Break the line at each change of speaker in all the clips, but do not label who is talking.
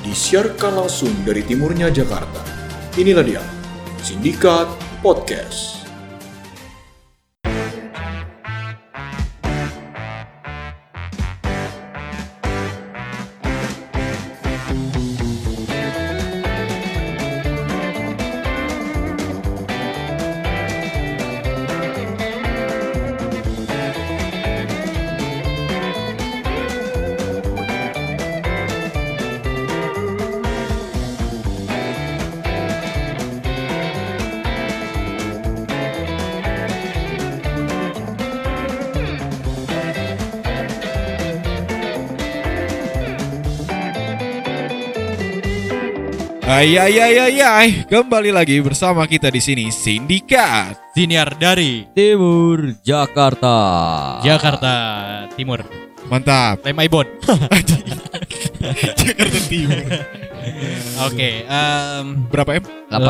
Disiarkan langsung dari timurnya Jakarta. Inilah dia, Sindikat Podcast.
Ay, ay, ay, ay, ay. Kembali lagi bersama kita di sini Sindikat.
Siniar dari
Timur Jakarta. Ah.
Ya.
Jakarta Timur.
Mantap.
Lem Ibon.
Jakarta Timur.
Oke, em,
Berapa M?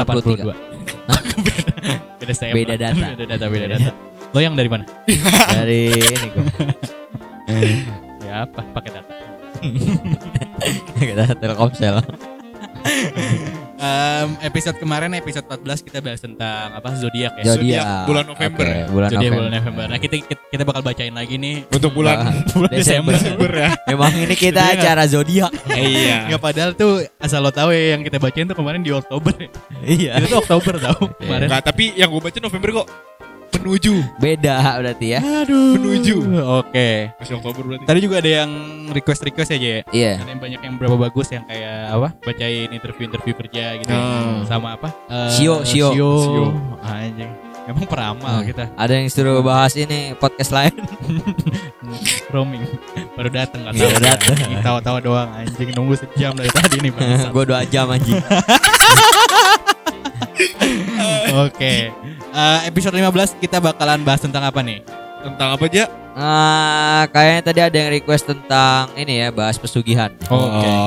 82.
83.
beda saya.
Beda data.
beda data, beda data. Lo yang dari mana?
Dari ini gua.
Ya apa? Pakai data.
Kita Telkomsel.
Eh,
Em, episode kemarin episode 14 kita bahas tentang apa zodiak ya.
Zodiak bulan November
Oke,
ya?
bulan
Zodiak
November.
bulan November. Nah, kita kita bakal bacain lagi nih.
Ah,
Untuk bulan
Desember.
Desember ya.
Memang ini kita
Zodiak.
acara zodiak.
Iya.
Nggak padahal tuh asal lo tahu ya yang kita bacain tuh kemarin di Oktober.
iya.
Itu tuh Oktober tau kemarin.
Enggak, tapi yang gue baca November kok menuju
Beda berarti ya.
Aduh.
Menuju.
Oke.
masih Oktober berarti.
Tadi juga ada yang request-request aja ya.
Iya.
ada yang banyak yang berapa bagus yang kayak apa bacain interview interview kerja gitu
Hmm.
sama apa Eh,
Sio, Sio.
Sio.
Sio.
anjing emang peramal
Nah,
kita
Ada yang suruh bahas ini podcast lain.
roaming baru datang nggak
Iya,
tahu
datang.
tawa-tawa doang anjing nunggu sejam dari tadi nih bangsat.
Gue dua jam anjing.
oke Eh, episode 15 kita bakalan bahas tentang apa nih
Tentang apa aja?
Ah, kayaknya tadi ada yang request tentang ini ya bahas pesugihan.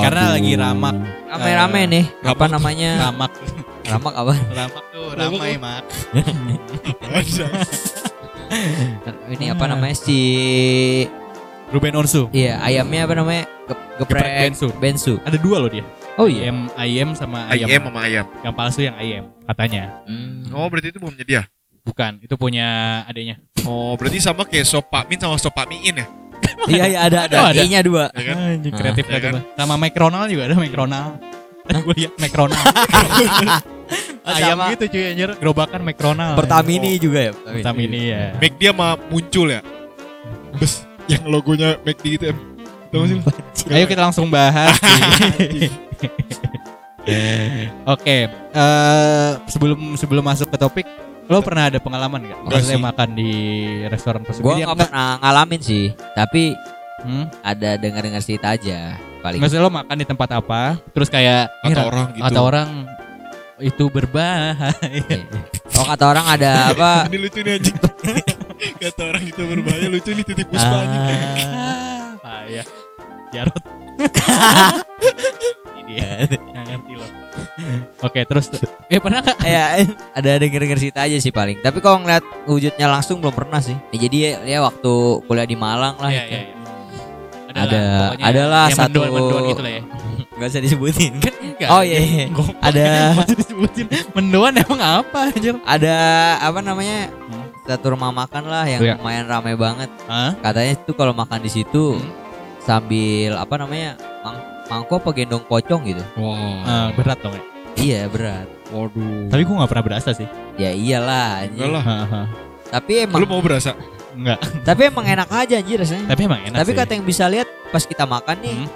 karena
Aduh.
lagi ramak
Rame-rame
Eh,
nih. Apa
Oh, ramak.
namanya?
ramak
Ramak apa?
ramak tuh ramai mak
Ini apa
Nah.
namanya si
Ruben Onsu
Iya, ayamnya apa namanya? Ge-
Geprek
Geprek
Bensu.
Bensu.
ada dua loh dia
Oh iya.
ayam ayam sama ayam
Ayam sama ayam.
yang palsu yang ayam katanya
Hmm.
Oh, berarti itu belum jadi ya?
Bukan, itu punya adanya.
Oh, berarti sama kayak sop pakmin sama sop pakmiin ya?
Iya iya ada ada.
Oh, ada.
I-nya dua.
Ya kan?
Anjing kreatif
Ah,
banget.
ya
gua. Sama McDonald juga ada McDonald. Gue liat McDonald. Ayam
Sama
gitu cuy anjir, gerobakan McDonald.
Pertamini juga ya.
Oh, iya. Pertamini ya.
Make dia mah muncul ya. Bes yang logonya McD gitu ya. Tahu nggak sih? lu?
Ayo kita langsung bahas. Oke, eh, sebelum sebelum masuk ke topik, lo pernah ada pengalaman gak?
Enggak
Maksudnya
sih.
makan di restoran tersebut? Iya
Gua nggak pernah ngalamin sih, tapi
Hmm?
ada dengar-dengar cerita aja paling.
Maksudnya lo makan di tempat apa? Terus kayak
Kata orang gitu.
kata orang itu berbahaya.
Oh kata orang ada apa?
Ini lucu nih anjing. Kata orang itu berbahaya lucu nih titik puspa anjing.
Ah, payah. Jarot. Ini dia. Nggak ngerti loh. Oke, terus eh pernah nggak?
ya ada dengar-dengar cerita aja sih paling. Tapi kalau ngeliat wujudnya langsung belum pernah sih. Ya, jadi ya, ya waktu kuliah di Malang lah. kan.
Iya,
itu.
iya, iya.
Ada-
pokoknya
adalah
yang
satu-
mendoan-mendoan gitu lah ya.
Nggak usah disebutin.
Kan enggak.
Oh, iya, iya.
Goblok.
Ada-
Masih disebutin mendoan emang apa anjir?
Ada apa namanya? Satu rumah makan lah yang
Hmm. Iya.
lumayan ramai banget.
Hah?
Katanya itu kalau makan di situ
Hmm.
sambil apa namanya? Mang mangkok apa gendong pocong gitu.
Eh, berat dong ya.
Iya berat.
Waduh.
Tapi gua nggak pernah berasa sih.
Ya iyalah. anjing.
enggak lah.
Haha.
Tapi emang
Lu mau berasa?
Enggak.
tapi emang enak aja anjir rasanya.
Tapi emang enak
Tapi
sih.
kata yang bisa lihat pas kita makan nih.
Hmm,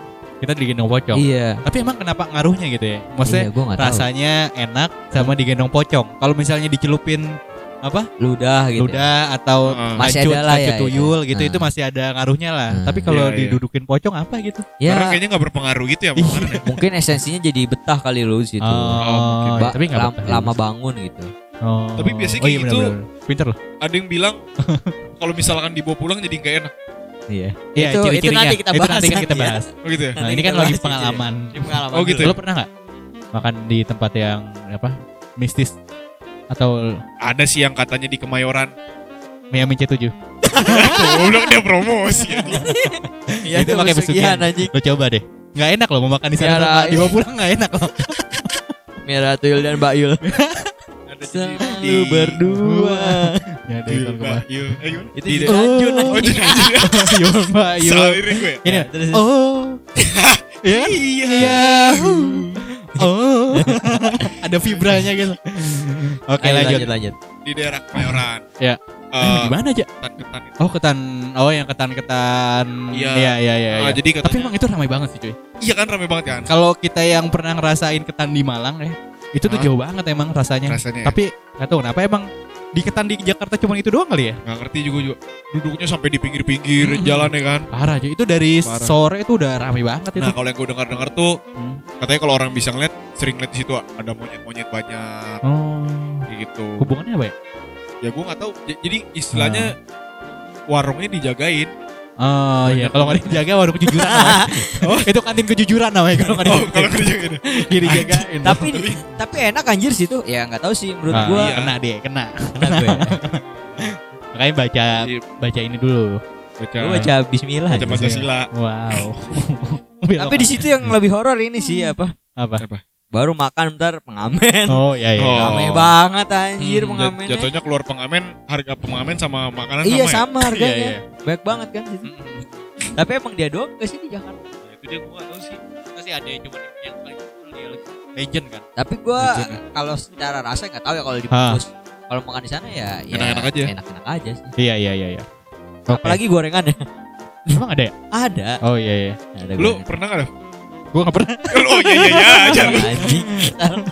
kita digendong pocong.
Iya.
Tapi emang kenapa ngaruhnya gitu ya? Maksudnya
iya, gua nggak tahu.
rasanya enak sama digendong pocong. Kalau misalnya dicelupin apa
ludah gitu.
ludah atau
Heeh.
Masih
lancut,
ada lah
lancut
ya,
tuyul
itu.
gitu
Nah.
itu masih ada ngaruhnya lah.
Nah.
Tapi kalau
Iya, iya.
didudukin pocong apa gitu?
Ya
Karena kayaknya nggak berpengaruh gitu ya
Iya.
makanan ya.
mungkin esensinya jadi betah kali lu di situ.
Oh,
Ba-
tapi nggak
Gitu. lam-
apa-apa.
lama bangun gitu.
Oh.
Tapi biasanya
Oh,
kayak gitu-
benar-benar. pinter loh.
Ada yang bilang kalau misalkan dibawa pulang jadi nggak enak.
Iya.
Iya,
Itu- itu
ciri-cirinya.
nanti kita
Itu
bahas,
nanti kan
kan,
kita
iya.
bahas.
Oh gitu ya.
Nah,
Nanti
ini kan
kita
lagi
bahas
pengalaman.
pengalaman
Oh, gitu
Lo
ya?
pernah nggak makan di tempat yang apa mistis atau
Ada sih yang katanya di Kemayoran.
Miami C7?
Goblok dia promosi. anjing.
Iya,
Itu pakai pesugihan.
anjing.
Lo coba deh. nggak enak loh mau makan di sana
Miara.
nggak- dibawa pulang nggak enak loh
Mira Tuyul dan Mbak Yul
Ada
Selalu berdua
ya ada
Yul,
iklan
Mbak Yul. Eh, gimana?
Itu
Tidak.
juga Yun
Oh.
Oh, tidak. tidak.
kemana. Yul, mbak
Salah
Yul.
lirik gue.
Iya, ini
Ya, terus-
oh ya kan? iya oh ada vibranya gitu oke
Ayo,
lanjut,
lanjut lanjut
Di daerah Kemayoran.
Ya.
Eh,
gimana aja
ketan-ketan itu.
oh ketan oh yang ketan ketan
Iya.
iya iya iya,
Ah,
iya.
jadi
tapi
katanya-
emang itu ramai banget sih cuy
Iya kan rame banget kan?
kalau kita yang pernah ngerasain ketan di Malang ya itu tuh
Hah?
jauh banget emang rasanya
Rasanya. ya. Tapi
tapi nggak tahu kenapa emang di ketan di Jakarta cuma itu doang kali ya
nggak ngerti juga juga. Duduknya sampai di
Hmm.
pinggir-pinggir jalan ya kan.
parah cuy itu dari
Parah.
sore itu udah ramai banget itu
Nah, kalau yang gue dengar-dengar tuh
Hmm.
katanya kalau orang bisa ngeliat sering ngeliat di situ ada monyet-monyet banyak
oh
kayak gitu.
hubungannya apa ya
Ya gue nggak tahu. J- Jadi istilahnya
Hmm.
warungnya dijagain.
oh iya kalau nggak dijaga warung kejujuran namanya. itu kantin kejujuran namanya kalau nggak
Oh, kalau
dijaga
dijagain.
Iya, dijagain
tapi tapi enak anjir sih itu ya nggak tahu sih menurut
Ah,
gua
iya.
kena deh kena
enak gue
ya. makanya baca
Iya.
baca ini dulu
Baca
Iya.
Gua baca Bismillah
baca Pancasila.
wow
tapi di situ
Iya.
yang lebih horor ini sih apa
apa
baru makan ntar pengamen
oh iya iya
Oh.
Rame banget anjir
Hmm,
Jat-
pengamennya
Jatuhnya keluar pengamen, harga pengamen sama makanan
Iya
sama, ya?
sama
iya
harganya
iya Hmm.
Banyak banget kan situ. Tapi emang dia doang gak sih di Jakarta?
ya? Nah, Itu dia gue gak tau sih.
sih ada yang cuma yang paling dia legend kan
Tapi gua
Legend
kalau secara rasa nggak tahu ya kalau di
Ah.
Bungkus. Kalau makan di sana ya ya
Enak-enak aja.
Enak-enak aja sih.
iya iya iya iya Oke.
Apalagi gorengannya.
emang ada ya
Ada.
oh iya iya
Ada
Lu pernah gak? Daf?
gue nggak pernah
oh iya iya iya. jangan.
gorengan. Anjing.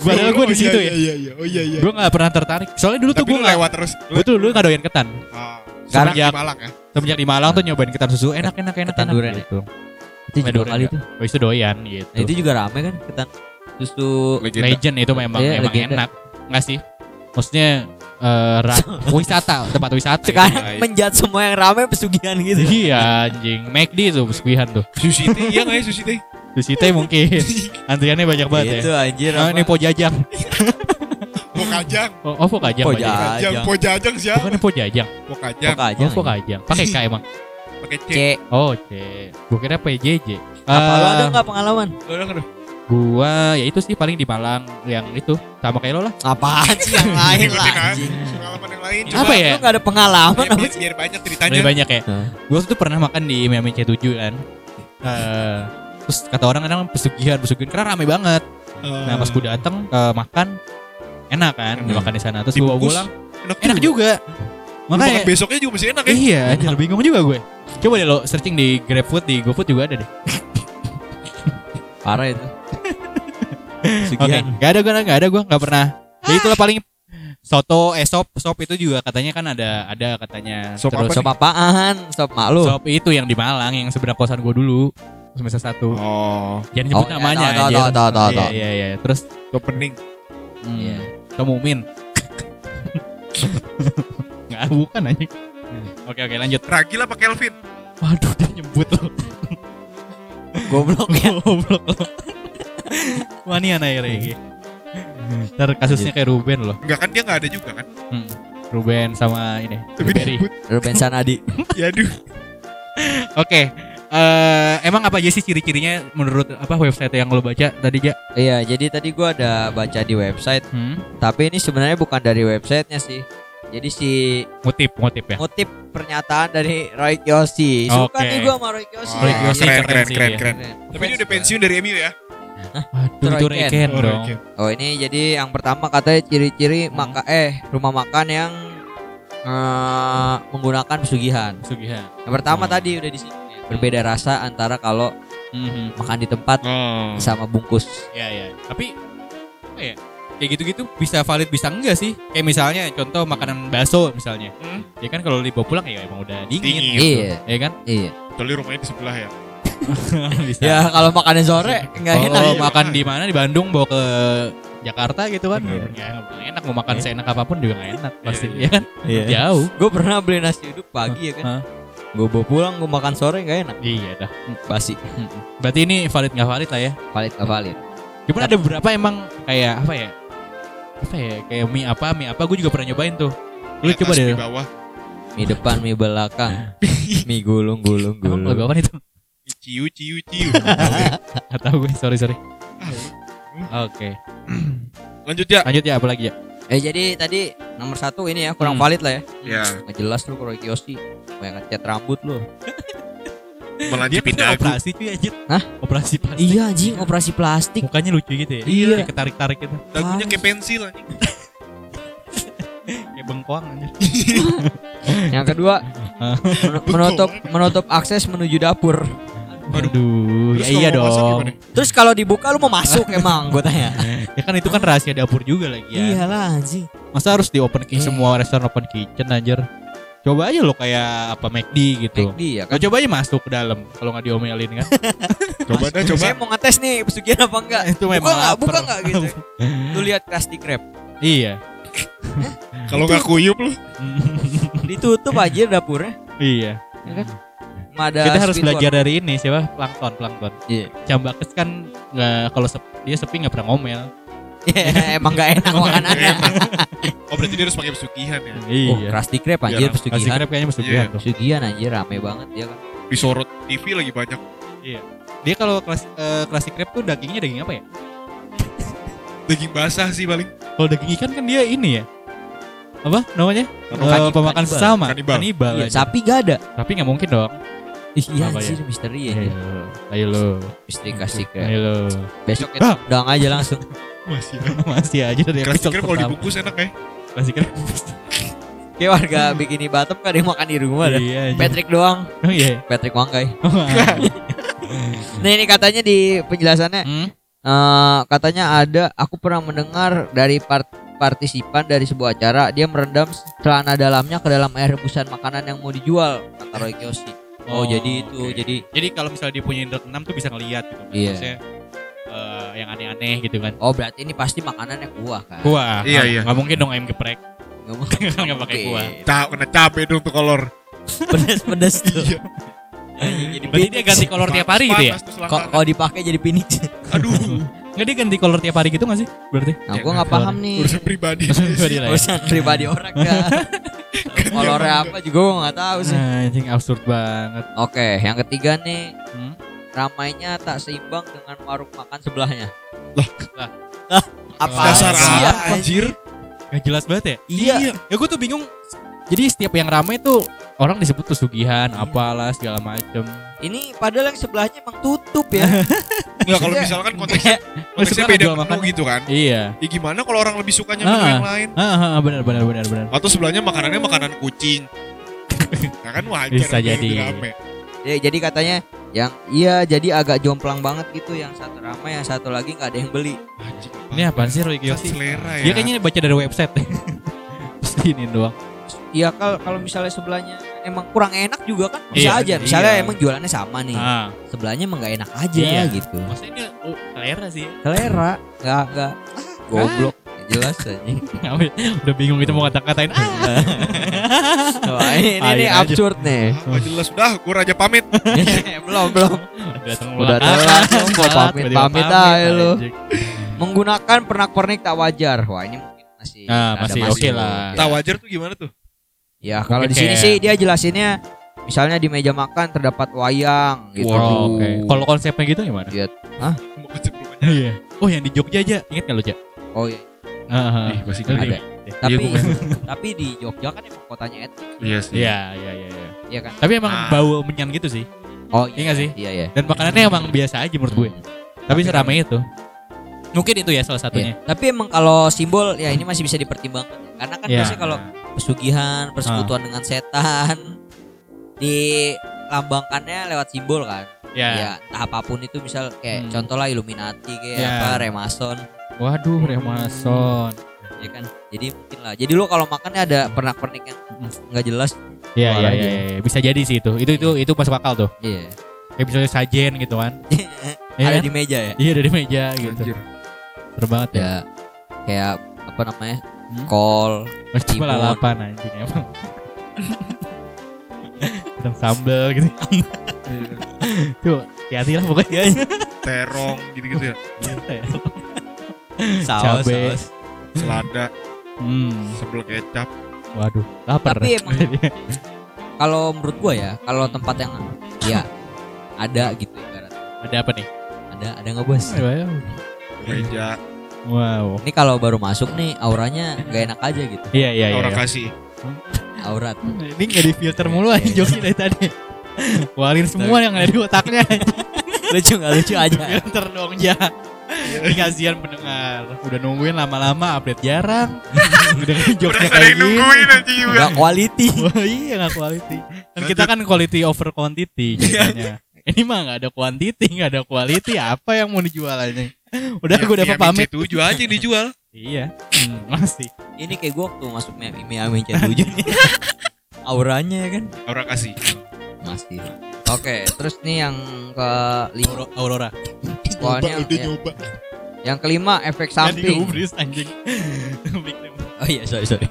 padahal gue
Oh,
di situ
iya,
ya
Iya iya. Oh iya iya.
gue nggak pernah tertarik soalnya dulu tuh
Tapi
gue
lu
nggak
lewat terus.
gue tuh dulu nggak doyan ketan
Ah,
Sekarang
sekarang
ya-
di Malang ya.
semenjak di Malang tuh nyobain ketan susu enak enak enak
Ketan
enak
durian ya?
gitu
Itu juga
Madura
kali
enggak?
tuh.
Habis itu doyan gitu
Nah, itu juga rame kan ketan. Terus tuh
legend itu memang
Iya,
emang
legenda.
enak nggak sih maksudnya eh, ra- wisata tempat wisata
sekarang
Iya, iya.
menjat semua yang rame pesugihan gitu.
iya anjing McD tuh pesugihan tuh
Sushi teh iya gak ya sushi teh?
di situ ya mungkin antriannya banyak banget
Itu
ya
anjir.
Oh,
apa?
ini pojajang.
Pokajang.
Oh, oh pojajang.
Pojajang.
pojajang.
Ajang.
Pojajang, pojajang siapa?
Bukan pojajang.
Pokajang.
Pokok aja.
Oh, pojajang. Pakai K emang.
Pakai C.
C.
Oh, C. Gua kira PJJ.
Apa lu
Eh,
ada nggak pengalaman?
Lu udah nggak, Daf?
Gua ya itu sih paling di Malang yang itu sama kayak lo lah.
Apaan sih yang lain lah?
Ikutin aja.
anjing?
Pengalaman yang lain.
Apa ya?
Lu nggak ada pengalaman
Biar,
apa
biar, biar banyak ceritanya.
Banyak banyak ya.
Hah.
Gua tuh pernah makan di Miami C7 kan. Eh, terus kata orang kadang pesugihan pesugihan karena rame banget. Nah
Hmm.
pas gue dateng eh, makan enak kan
Enak.
makan di sana terus gue bawa
Hmm. Dibungkus.
pulang
Enak,
enak juga.
Lu makan
Makanya
besoknya juga masih enak ya.
iya anjir bingung juga gue. Coba deh lo searching di GrabFood di GoFood juga ada deh.
Parah itu.
Oke,
Pesugihan.
Iya, nggak ada gue, nggak ada gue, nggak pernah. Ya
Ah.
itulah paling soto, eh sop, sop itu juga katanya kan ada, ada katanya.
Sop
Terus
apa
Sop apaan? Sop mak lu.
sop itu yang di Malang, yang seberang kosan gue dulu semester satu.
Oh,
Jangan nyebut
Oh, iya,
namanya.
tahu, tahu,
anjir.
tahu, tahu,
Iya,
tahu.
iya, iya. Terus,
itu pening.
hmm,
Iya.
kamu min. Nggak, bukan aja. Oke, oke, lanjut.
Ragil apa Kelvin?
Waduh, dia nyebut lo.
Goblok ya.
Goblok lo. Wanian akhirnya. Ntar kasusnya kayak Ruben loh.
Enggak kan dia enggak ada juga kan?
Hmm. Ruben sama ini.
Tapi
Berry.
disebut.
Ruben Sanadi.
Ya aduh.
Oke. eh emang apa aja sih ciri-cirinya menurut apa website yang lo baca tadi ja?
Iya, jadi tadi gua ada baca di website,
Hmm?
tapi ini sebenarnya bukan dari websitenya sih. Jadi si
Motif, motif ya.
ngutip pernyataan dari Roy Kiyoshi. Suka
Oke.
nih gua sama Roy Kiyoshi.
Oh,
Roy Kiyoshi
keren,
keren
keren,
iya, sih
keren,
dia.
keren. Tapi dia udah pensiun dari MU ya?
Aduh,
Troy
itu Reken
Ken.
Oh,
dong.
oke.
Oh, ini jadi yang pertama katanya ciri-ciri
Hmm.
maka eh rumah makan yang eh, menggunakan pesugihan.
Sugihan.
Yang pertama
Hmm.
tadi udah di sini. Berbeda rasa antara kalau
Mhm.
makan di tempat
Hmm.
Oh.
sama bungkus.
Ya ya. Tapi apa ya? Kayak gitu-gitu bisa valid bisa enggak sih? Kayak misalnya contoh makanan bakso misalnya.
Hmm.
Ya kan kalau dibawa pulang ya emang udah dingin.
Dingin.
Iya,
Ya kan?
iya.
Kecuali rumahnya di sebelah ya.
bisa.
Ya kalau makannya sore nggak enak.
Kalau
Iya,
Oh, makan
makanya.
di mana di Bandung bawa ke Jakarta gitu kan
Bener.
ya, nggak enak mau makan
Iya.
seenak apapun juga nggak enak pasti ya
iya.
kan jauh
Gue pernah beli nasi uduk pagi ya kan.
Hah?
Gue bawa pulang gue makan sore nggak enak.
iya dah
Basi.
berarti ini valid nggak valid lah ya
Valid nggak valid.
Cuman Ya ada beberapa emang kayak apa ya? Apa ya? Kayak mie apa, mie apa gue juga pernah nyobain tuh. Lu
Atas,
coba deh.
Di bawah.
Mie depan, mie belakang, mie gulung, gulung,
Emang
gulung.
lebih apa itu?
ciu ciu ciu.
Nggak tahu gue, sorry sorry.
Ah.
Oke,
Lanjut ya.
lanjut ya apa lagi ya?
Eh jadi tadi nomor satu ini ya kurang
Hmm.
valid lah ya.
Ya,
Nggak jelas lu kalau Kiyoshi kayak ngecat rambut lu.
malah
Dia
jepit
pernah
dagu.
operasi cuy anjir.
Hah?
Operasi plastik.
Iya anjing operasi plastik.
Mukanya lucu gitu ya.
Iya.
Kayak ketarik-tarik gitu.
Dagunya kayak pensil anjing.
Kayak bengkoang anjir.
Yang kedua men- menutup menutup akses menuju dapur.
Aduh,
Aduh.
ya iya
Terus kalau mau masak
dong.
gimana?
Terus kalau dibuka lu mau masuk emang gue tanya.
Ya kan itu kan rahasia dapur juga lagi ya.
Iyalah anjing.
Masa harus di open kitchen
Eh.
semua restoran open kitchen anjir. Coba aja lo kayak apa McD gitu.
McD ya
Lo
kan.
coba aja masuk ke dalam kalau nggak diomelin kan.
Coba dah coba.
Saya mau ngetes nih pesugihan apa enggak.
Itu memang
buka enggak,
lapar.
buka enggak gitu. Lu lihat Krusty Krab.
iya.
Kalau nggak kuyup lu.
Ditutup aja dapurnya.
iya.
Nggak Ada
Kita harus
speedboard.
belajar dari ini siapa? Plankton, plankton.
Iya.
Cambakes kan nggak kalau sep- dia sepi nggak pernah ngomel.
Iya, emang enggak enak makanannya.
Oh berarti dia harus pakai pesugihan ya.
Oh,
Iya.
Krusty Krab anjir
Iya,
Kasih
pesugihan.
krep kayaknya masuk
Iya.
dia tuh.
Pesugihan anjir rame banget ya kan.
Disorot TV lagi banyak.
Iya. Dia kalau kelas eh, klasik krep tuh dagingnya daging apa ya?
Daging basah sih paling.
Kalau daging ikan kan dia ini ya. Apa namanya?
Kanib-
Eh, pemakan
kanibal.
sesama.
Kanibal.
Iya,
aja.
sapi gak ada.
Tapi nggak mungkin dong.
Iya
Apa iya.
anjir misteri
Ayo,
ya.
ayo lo,
Misteri Krusty Krab.
ayo lo.
Besok kita undang aja langsung.
Masih.
Masih aja dari
Klasik
episode
kan kalau
pertama.
dibungkus enak ya.
Klasik krep.
Kayak warga bikini Batam gak ada yang makan di rumah dah.
Iya. aja.
Patrick doang,
Oh iya.
Patrick Wangkai.
Wah.
Nah ini katanya di penjelasannya
Hmm?
Eh, katanya ada aku pernah mendengar dari part- partisipan dari sebuah acara dia merendam celana dalamnya ke dalam air rebusan makanan yang mau dijual kata Roy Kiyoshi. Oh, jadi itu
oke.
jadi
Jadi kalau misalnya dia punya indra keenam tuh bisa ngelihat gitu. kan.
Iya.
Maksudnya eh, yang aneh-aneh gitu kan.
oh berarti ini pasti makanannya kuah kan?
Kuah.
Iya, iya.
Gak mungkin dong ayam geprek.
Nggak mungkin.
Nggak pakai kuah.
Ca kena cabe dong tuh kolor.
Pedes-pedes tuh. jadi
Iya, Berarti dia ganti kolor tiap hari gitu ya?
Panas tuh selangkah.
Kok kalau dipakai jadi pinit.
Aduh,
Nggak dia ganti kolor tiap hari gitu nggak sih? Berarti
Nah, gua nggak paham nih.
urusan pribadi.
Urusan pribadi lah ya.
Urusan pribadi orang kan. Kolornya apa juga gua nggak tahu sih.
Nah, anjing absurd banget.
Oke, yang ketiga nih
Hmm?
ramainya tak seimbang dengan warung makan sebelahnya.
Lah.
Lah.
Lah, apa
Dasar
sih ya,
apa, anjir?
Gak jelas banget ya?
Iya.
Ya gue tuh bingung. Jadi setiap yang ramai tuh orang disebut pesugihan,
Iya.
apalah segala macem.
Ini padahal yang sebelahnya emang tutup ya.
Enggak kalau misalkan konteksnya konteksnya
Maksudnya
beda
jual
menu
makan.
gitu kan.
Iya.
Ya gimana kalau orang lebih sukanya menu
Ah.
yang lain?
Ah, ah, benar benar benar benar.
Atau sebelahnya makanannya makanan kucing. Nah kan wajar
Bisa
gitu
jadi.
rame.
Ya, jadi katanya yang iya jadi agak jomplang banget gitu yang satu ramai yang satu lagi nggak ada yang beli.
Anjing,
Ini apaan sih Roy
Kan
Kiyoshi?
selera ya.
Dia kayaknya baca dari website. Pasti ini doang.
Iya kalau kalau misalnya sebelahnya emang kurang enak juga kan
Iya,
bisa aja.
iya.
Misalnya emang jualannya sama nih,
Ah,
sebelahnya emang nggak enak aja
Iya.
gitu.
maksudnya dia oh, selera sih.
Selera nggak nggak ah, goblok Nggak jelas aja.
Udah bingung gitu mau kata-katain. Ah.
Wah, ini, ini
Ayo aja.
absurd nih.
Ah, nggak jelas udah, gua raja pamit.
belum belum.
Datang
Udah telat, mau pamit-pamit aja lu.
Gitu.
menggunakan pernak-pernik tak wajar. Wah, ini mungkin masih
Nah,
ada
masih oke lah.
Ya.
Tak wajar tuh gimana tuh?
Ya, kalau di
Mungkin
sini
kayak-
sih dia jelasinnya misalnya di meja makan terdapat wayang gitu.
Oh, oke. Kalau konsepnya gitu gimana?
Mau keceplosannya.
Iya. Oh, yang di Jogja aja. Ingat nggak Eh, lo, Ja?
Oh iya,
Heeh.
Ih, masih
Lu
ada.
ingat?
tapi
bukan.
tapi di Jogja kan emang kotanya etnik
Iya
Iya, iya, iya, iya.
ya kan.
Tapi emang
Ah.
bau menyan gitu sih.
Oh
Iya nggak sih?
Iya ya.
Dan makanannya emang biasa aja menurut gue.
Iya.
Tapi seramai itu. Mungkin itu ya salah satunya.
Tapi emang kalau simbol ya ini masih bisa dipertimbangkan karena kan
Iya. Ah.
biasanya kalau pesugihan, persekutuan dengan setan dilambangkannya lewat simbol kan.
Ya.
Ya, entah apapun itu misal kayak
Hmm.
contoh lah Illuminati kayak
Ya.
apa Remason
Waduh, remason.
ya kan jadi mungkin lah jadi lo kalau makannya ada pernak pernik yang
Hmm.
nggak jelas
Iya,
Keluar
iya,
aja.
iya, iya. Bisa jadi sih itu. Itu itu itu masuk akal tuh.
iya
Kayak misalnya sajen gitu kan. Iya
ada
kan?
di meja ya
Iya dari meja gitu.
Anjir.
Seru banget ya.
ya kayak apa namanya
Hmm?
kol
Mas cuma
Timun.
lalapan anjing emang. Tentang sambel gitu. Tuh, hati-hati lah pokoknya.
Terong gitu-gitu ya.
saus,
Cabe.
saus.
Selada,
Hmm,
sambal kecap.
waduh, lapar.
Tapi emang- kalau menurut gua ya kalau tempat yang ya ada gitu ibarat.
Ada apa nih?
Ada ada nggak bos?
Iya.
Meja
Wow.
Ini kalau baru masuk nih auranya nggak enak aja gitu.
Iya iya iya.
orang
iya.
kasih.
Aurat.
Ini nggak di filter mulu aja jokesnya dari tadi. Walir Iya, semua yang ada di otaknya.
lucu nggak lucu aja.
filter dong ya. Ini kasihan pendengar. Udah nungguin lama-lama update jarang. Udah jokesnya
Ada
kayak gitu.
yang
gini.
nungguin aja juga.
Nggak quality.
Wah, iya nggak quality. Kan kita kan quality over
Iya.
quantity ceritanya. Ini mah nggak ada quantity, nggak ada quality. Apa yang mau dijual aja? Udah
Ya, Iya,
gue udah pamit.
tujuh aja yang dijual.
Iya, hmm, masih.
Ini kayak gue waktu masuk Miami Miami Chat 7 nih. Auranya ya kan
Orang kasih.
masih. Oke, terus nih yang ke lima.
Aurora. Aurora.
Pokoknya
Nyoba,
Iya.
udah
ya.
nyoba.
Yang kelima efek
Nanti
samping.
gubris anjing. Mic dem.
Oh iya, sorry sorry.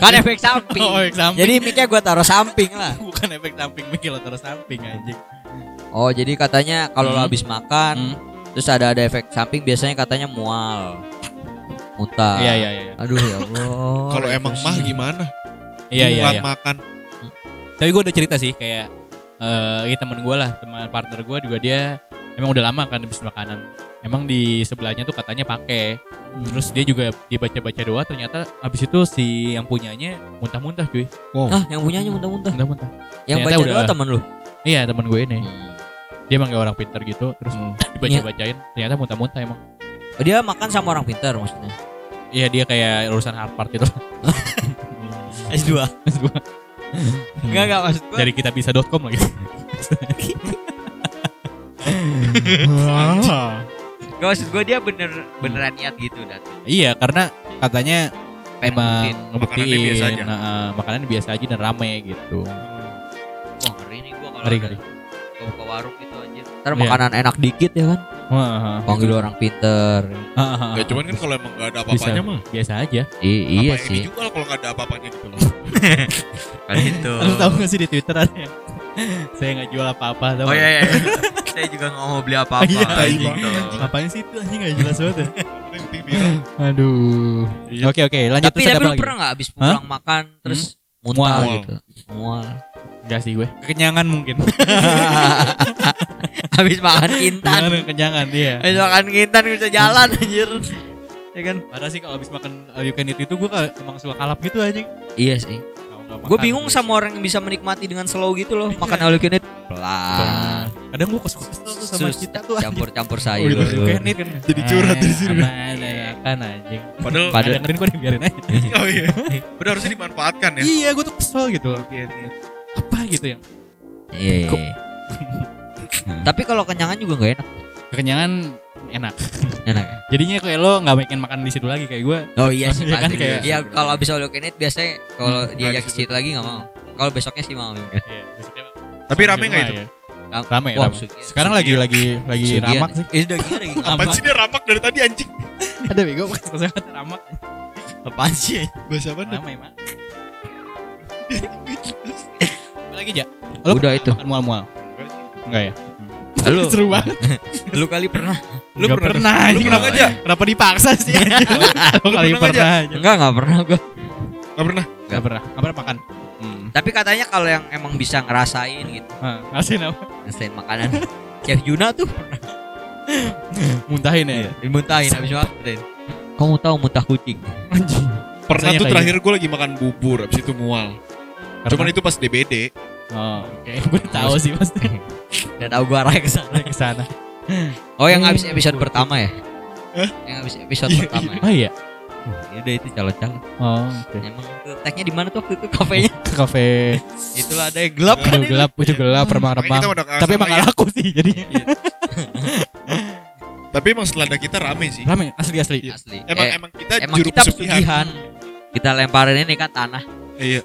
Kan efek samping.
oh, efek samping.
Jadi mic-nya gue taruh samping lah.
Bukan efek samping, mikir lo terus samping anjing.
Oh, jadi katanya kalau lo
Hmm.
habis
Hmm.
makan, terus ada ada efek samping biasanya katanya mual. Muntah.
Iya, iya, iya.
Aduh ya Allah.
Kalau emang mah gimana?
Iya, iya,
Bukan
iya.
makan.
Tapi gue udah cerita sih kayak eh ini temen gue lah, teman partner gue juga dia emang udah lama kan habis makanan. Emang di sebelahnya tuh katanya pakai. Terus dia juga dibaca-baca doa ternyata habis itu si yang punyanya muntah-muntah cuy.
Hah, Ah, yang punyanya muntah-muntah. Hmm.
Muntah-muntah.
Yang
Ternyata
baca
udah-
doa temen lu.
Iya temen gue ini. Dia emang kayak orang pinter gitu terus dibaca-bacain ternyata muntah-muntah emang.
Oh, dia makan sama orang pintar maksudnya.
Iya dia kayak urusan Harvard gitu.
S2.
Maksud gua, Hmm.
Enggak enggak maksud gua.
Dari kita bisa.com lagi.
Enggak maksud gua dia bener
Hmm.
beneran niat gitu dan
Iya karena katanya emang ngebuktiin
Makanannya biasa aja.
nah, eh, makanannya biasa aja dan rame gitu.
Wah, ngeri nih gua kalau
Ngeri,
ada
ngeri.
buka warung gitu aja. Ntar
Iya.
makanan enak dikit ya kan.
Wah,
Panggil orang pintar.
ah, ah,
Ya
ah.
cuman kan kalau emang nggak ada
bisa
apa-apanya mah.
biasa aja.
iya
apa yang
sih.
dijual kalau nggak ada apa-apanya gitu loh.
Kan itu.
Lu tahu gak sih di Twitter ada yang saya nggak jual apa-apa tau
Oh
nggak?
iya, iya. Saya juga nggak mau beli apa-apa. gitu.
Iya,
anjing,
iya.
tuh.
Ngapain sih itu anjing nggak jelas banget. ya.
Yang penting viral.
Aduh.
Iya.
Oke oke, lanjut
Tapi
terus
tapi
ada apa
lu
lagi? Hmm?
pernah nggak abis pulang makan terus muntah
Mual.
gitu? Mual.
Enggak sih gue. Kekenyangan mungkin.
abis makan kintan.
Kekenyangan, kekenyangan iya.
Abis makan kintan bisa jalan anjir. Ya kan?
Parah sih kalau habis makan all you can eat itu gue ka- emang suka kalap gitu anjing.
Iya sih. Gue bingung
iya
sama orang yang bisa menikmati dengan slow gitu loh. Makan all you can eat. Pelan.
Ah. Kadang gue kesel tuh sama
Sus,
kita tuh anjing.
Campur-campur
Oh,
sayur.
gitu. all you can eat kan. Eh,
Jadi curhat di sini.
Kan anjing.
Padahal
Pada dengerin gue dibiarin aja.
oh iya. Padahal harusnya dimanfaatkan ya.
Iya, gue tuh kesel gitu. Apa gitu yang
Iya. iya, iya. Tapi kalau kenyangan juga nggak enak.
kekenyangan enak.
Enak. ya?
Jadinya kayak lo nggak bikin makan di situ lagi kayak gue.
Oh iya sih
Iya kan,
pasti.
kayak-
Iya kalau abis all you can eat biasanya kalau
Hmm,
diajak ke
nggak
situ lagi nggak mau. Kalau besoknya sih mau.
ya,
Tapi rame nggak
Iya.
itu?
Rame,
Wah,
rame.
sugihan.
Sekarang lagi lagi lagi
Sugihan.
ramak sih.
Ini dagingnya daging
Apaan
Iya, apa?
sih dia ramak dari tadi anjing?
Ada bego pas kesehatan ramak.
Apaan sih?
Bahasa apa?
Rame emang. Apa lagi ja. Lo
Udah itu.
Makan mual-mual. Enggak ya?
Lu
Seru banget.
lu kali pernah?
Lu
Nggak
pernah?
pernah.
Lu
anjing.
pernah aja?
Kenapa dipaksa sih? Lo kali
pernah nggak,
pernah aja.
Enggak, enggak pernah gua.
Gak pernah.
Enggak pernah. Enggak pernah makan. Hmm.
Tapi katanya kalau yang emang bisa ngerasain gitu,
Ah, Ngasih apa?
ngerasain makanan. Chef Juna tuh
Muntahin ya.
dimuntahin habis makan. Kamu tahu muntah kucing?
Rasanya
Pernah tuh
kayak gitu.
terakhir gue lagi makan bubur, abis itu mual. Cuman
Karena-
itu pas DBD.
Oh, oke. Gue tahu sih pasti.
Gak tahu gua arahnya ke sana.
eh, Ke sana.
Oh, yang habis episode pertama ya?
Hah?
Yang habis episode
Iya,
pertama. ya?
Oh iya.
Ya Udah itu calon-calon.
Oh, oke.
Emang tuh tagnya di mana tuh waktu itu kafenya?
Ke kafe
Itulah ada yang gelap kan.
Aduh, gelap, itu gelap,
Makanya kita
remang-remang.
udah
Tapi emang gak laku sih jadinya.
Tapi emang selada kita rame sih.
Rame, asli asli.
Asli.
Emang
Eh,
emang kita
emang
juru
kita
pesugihan.
pesugihan. Kita lemparin ini kan tanah.
Iya.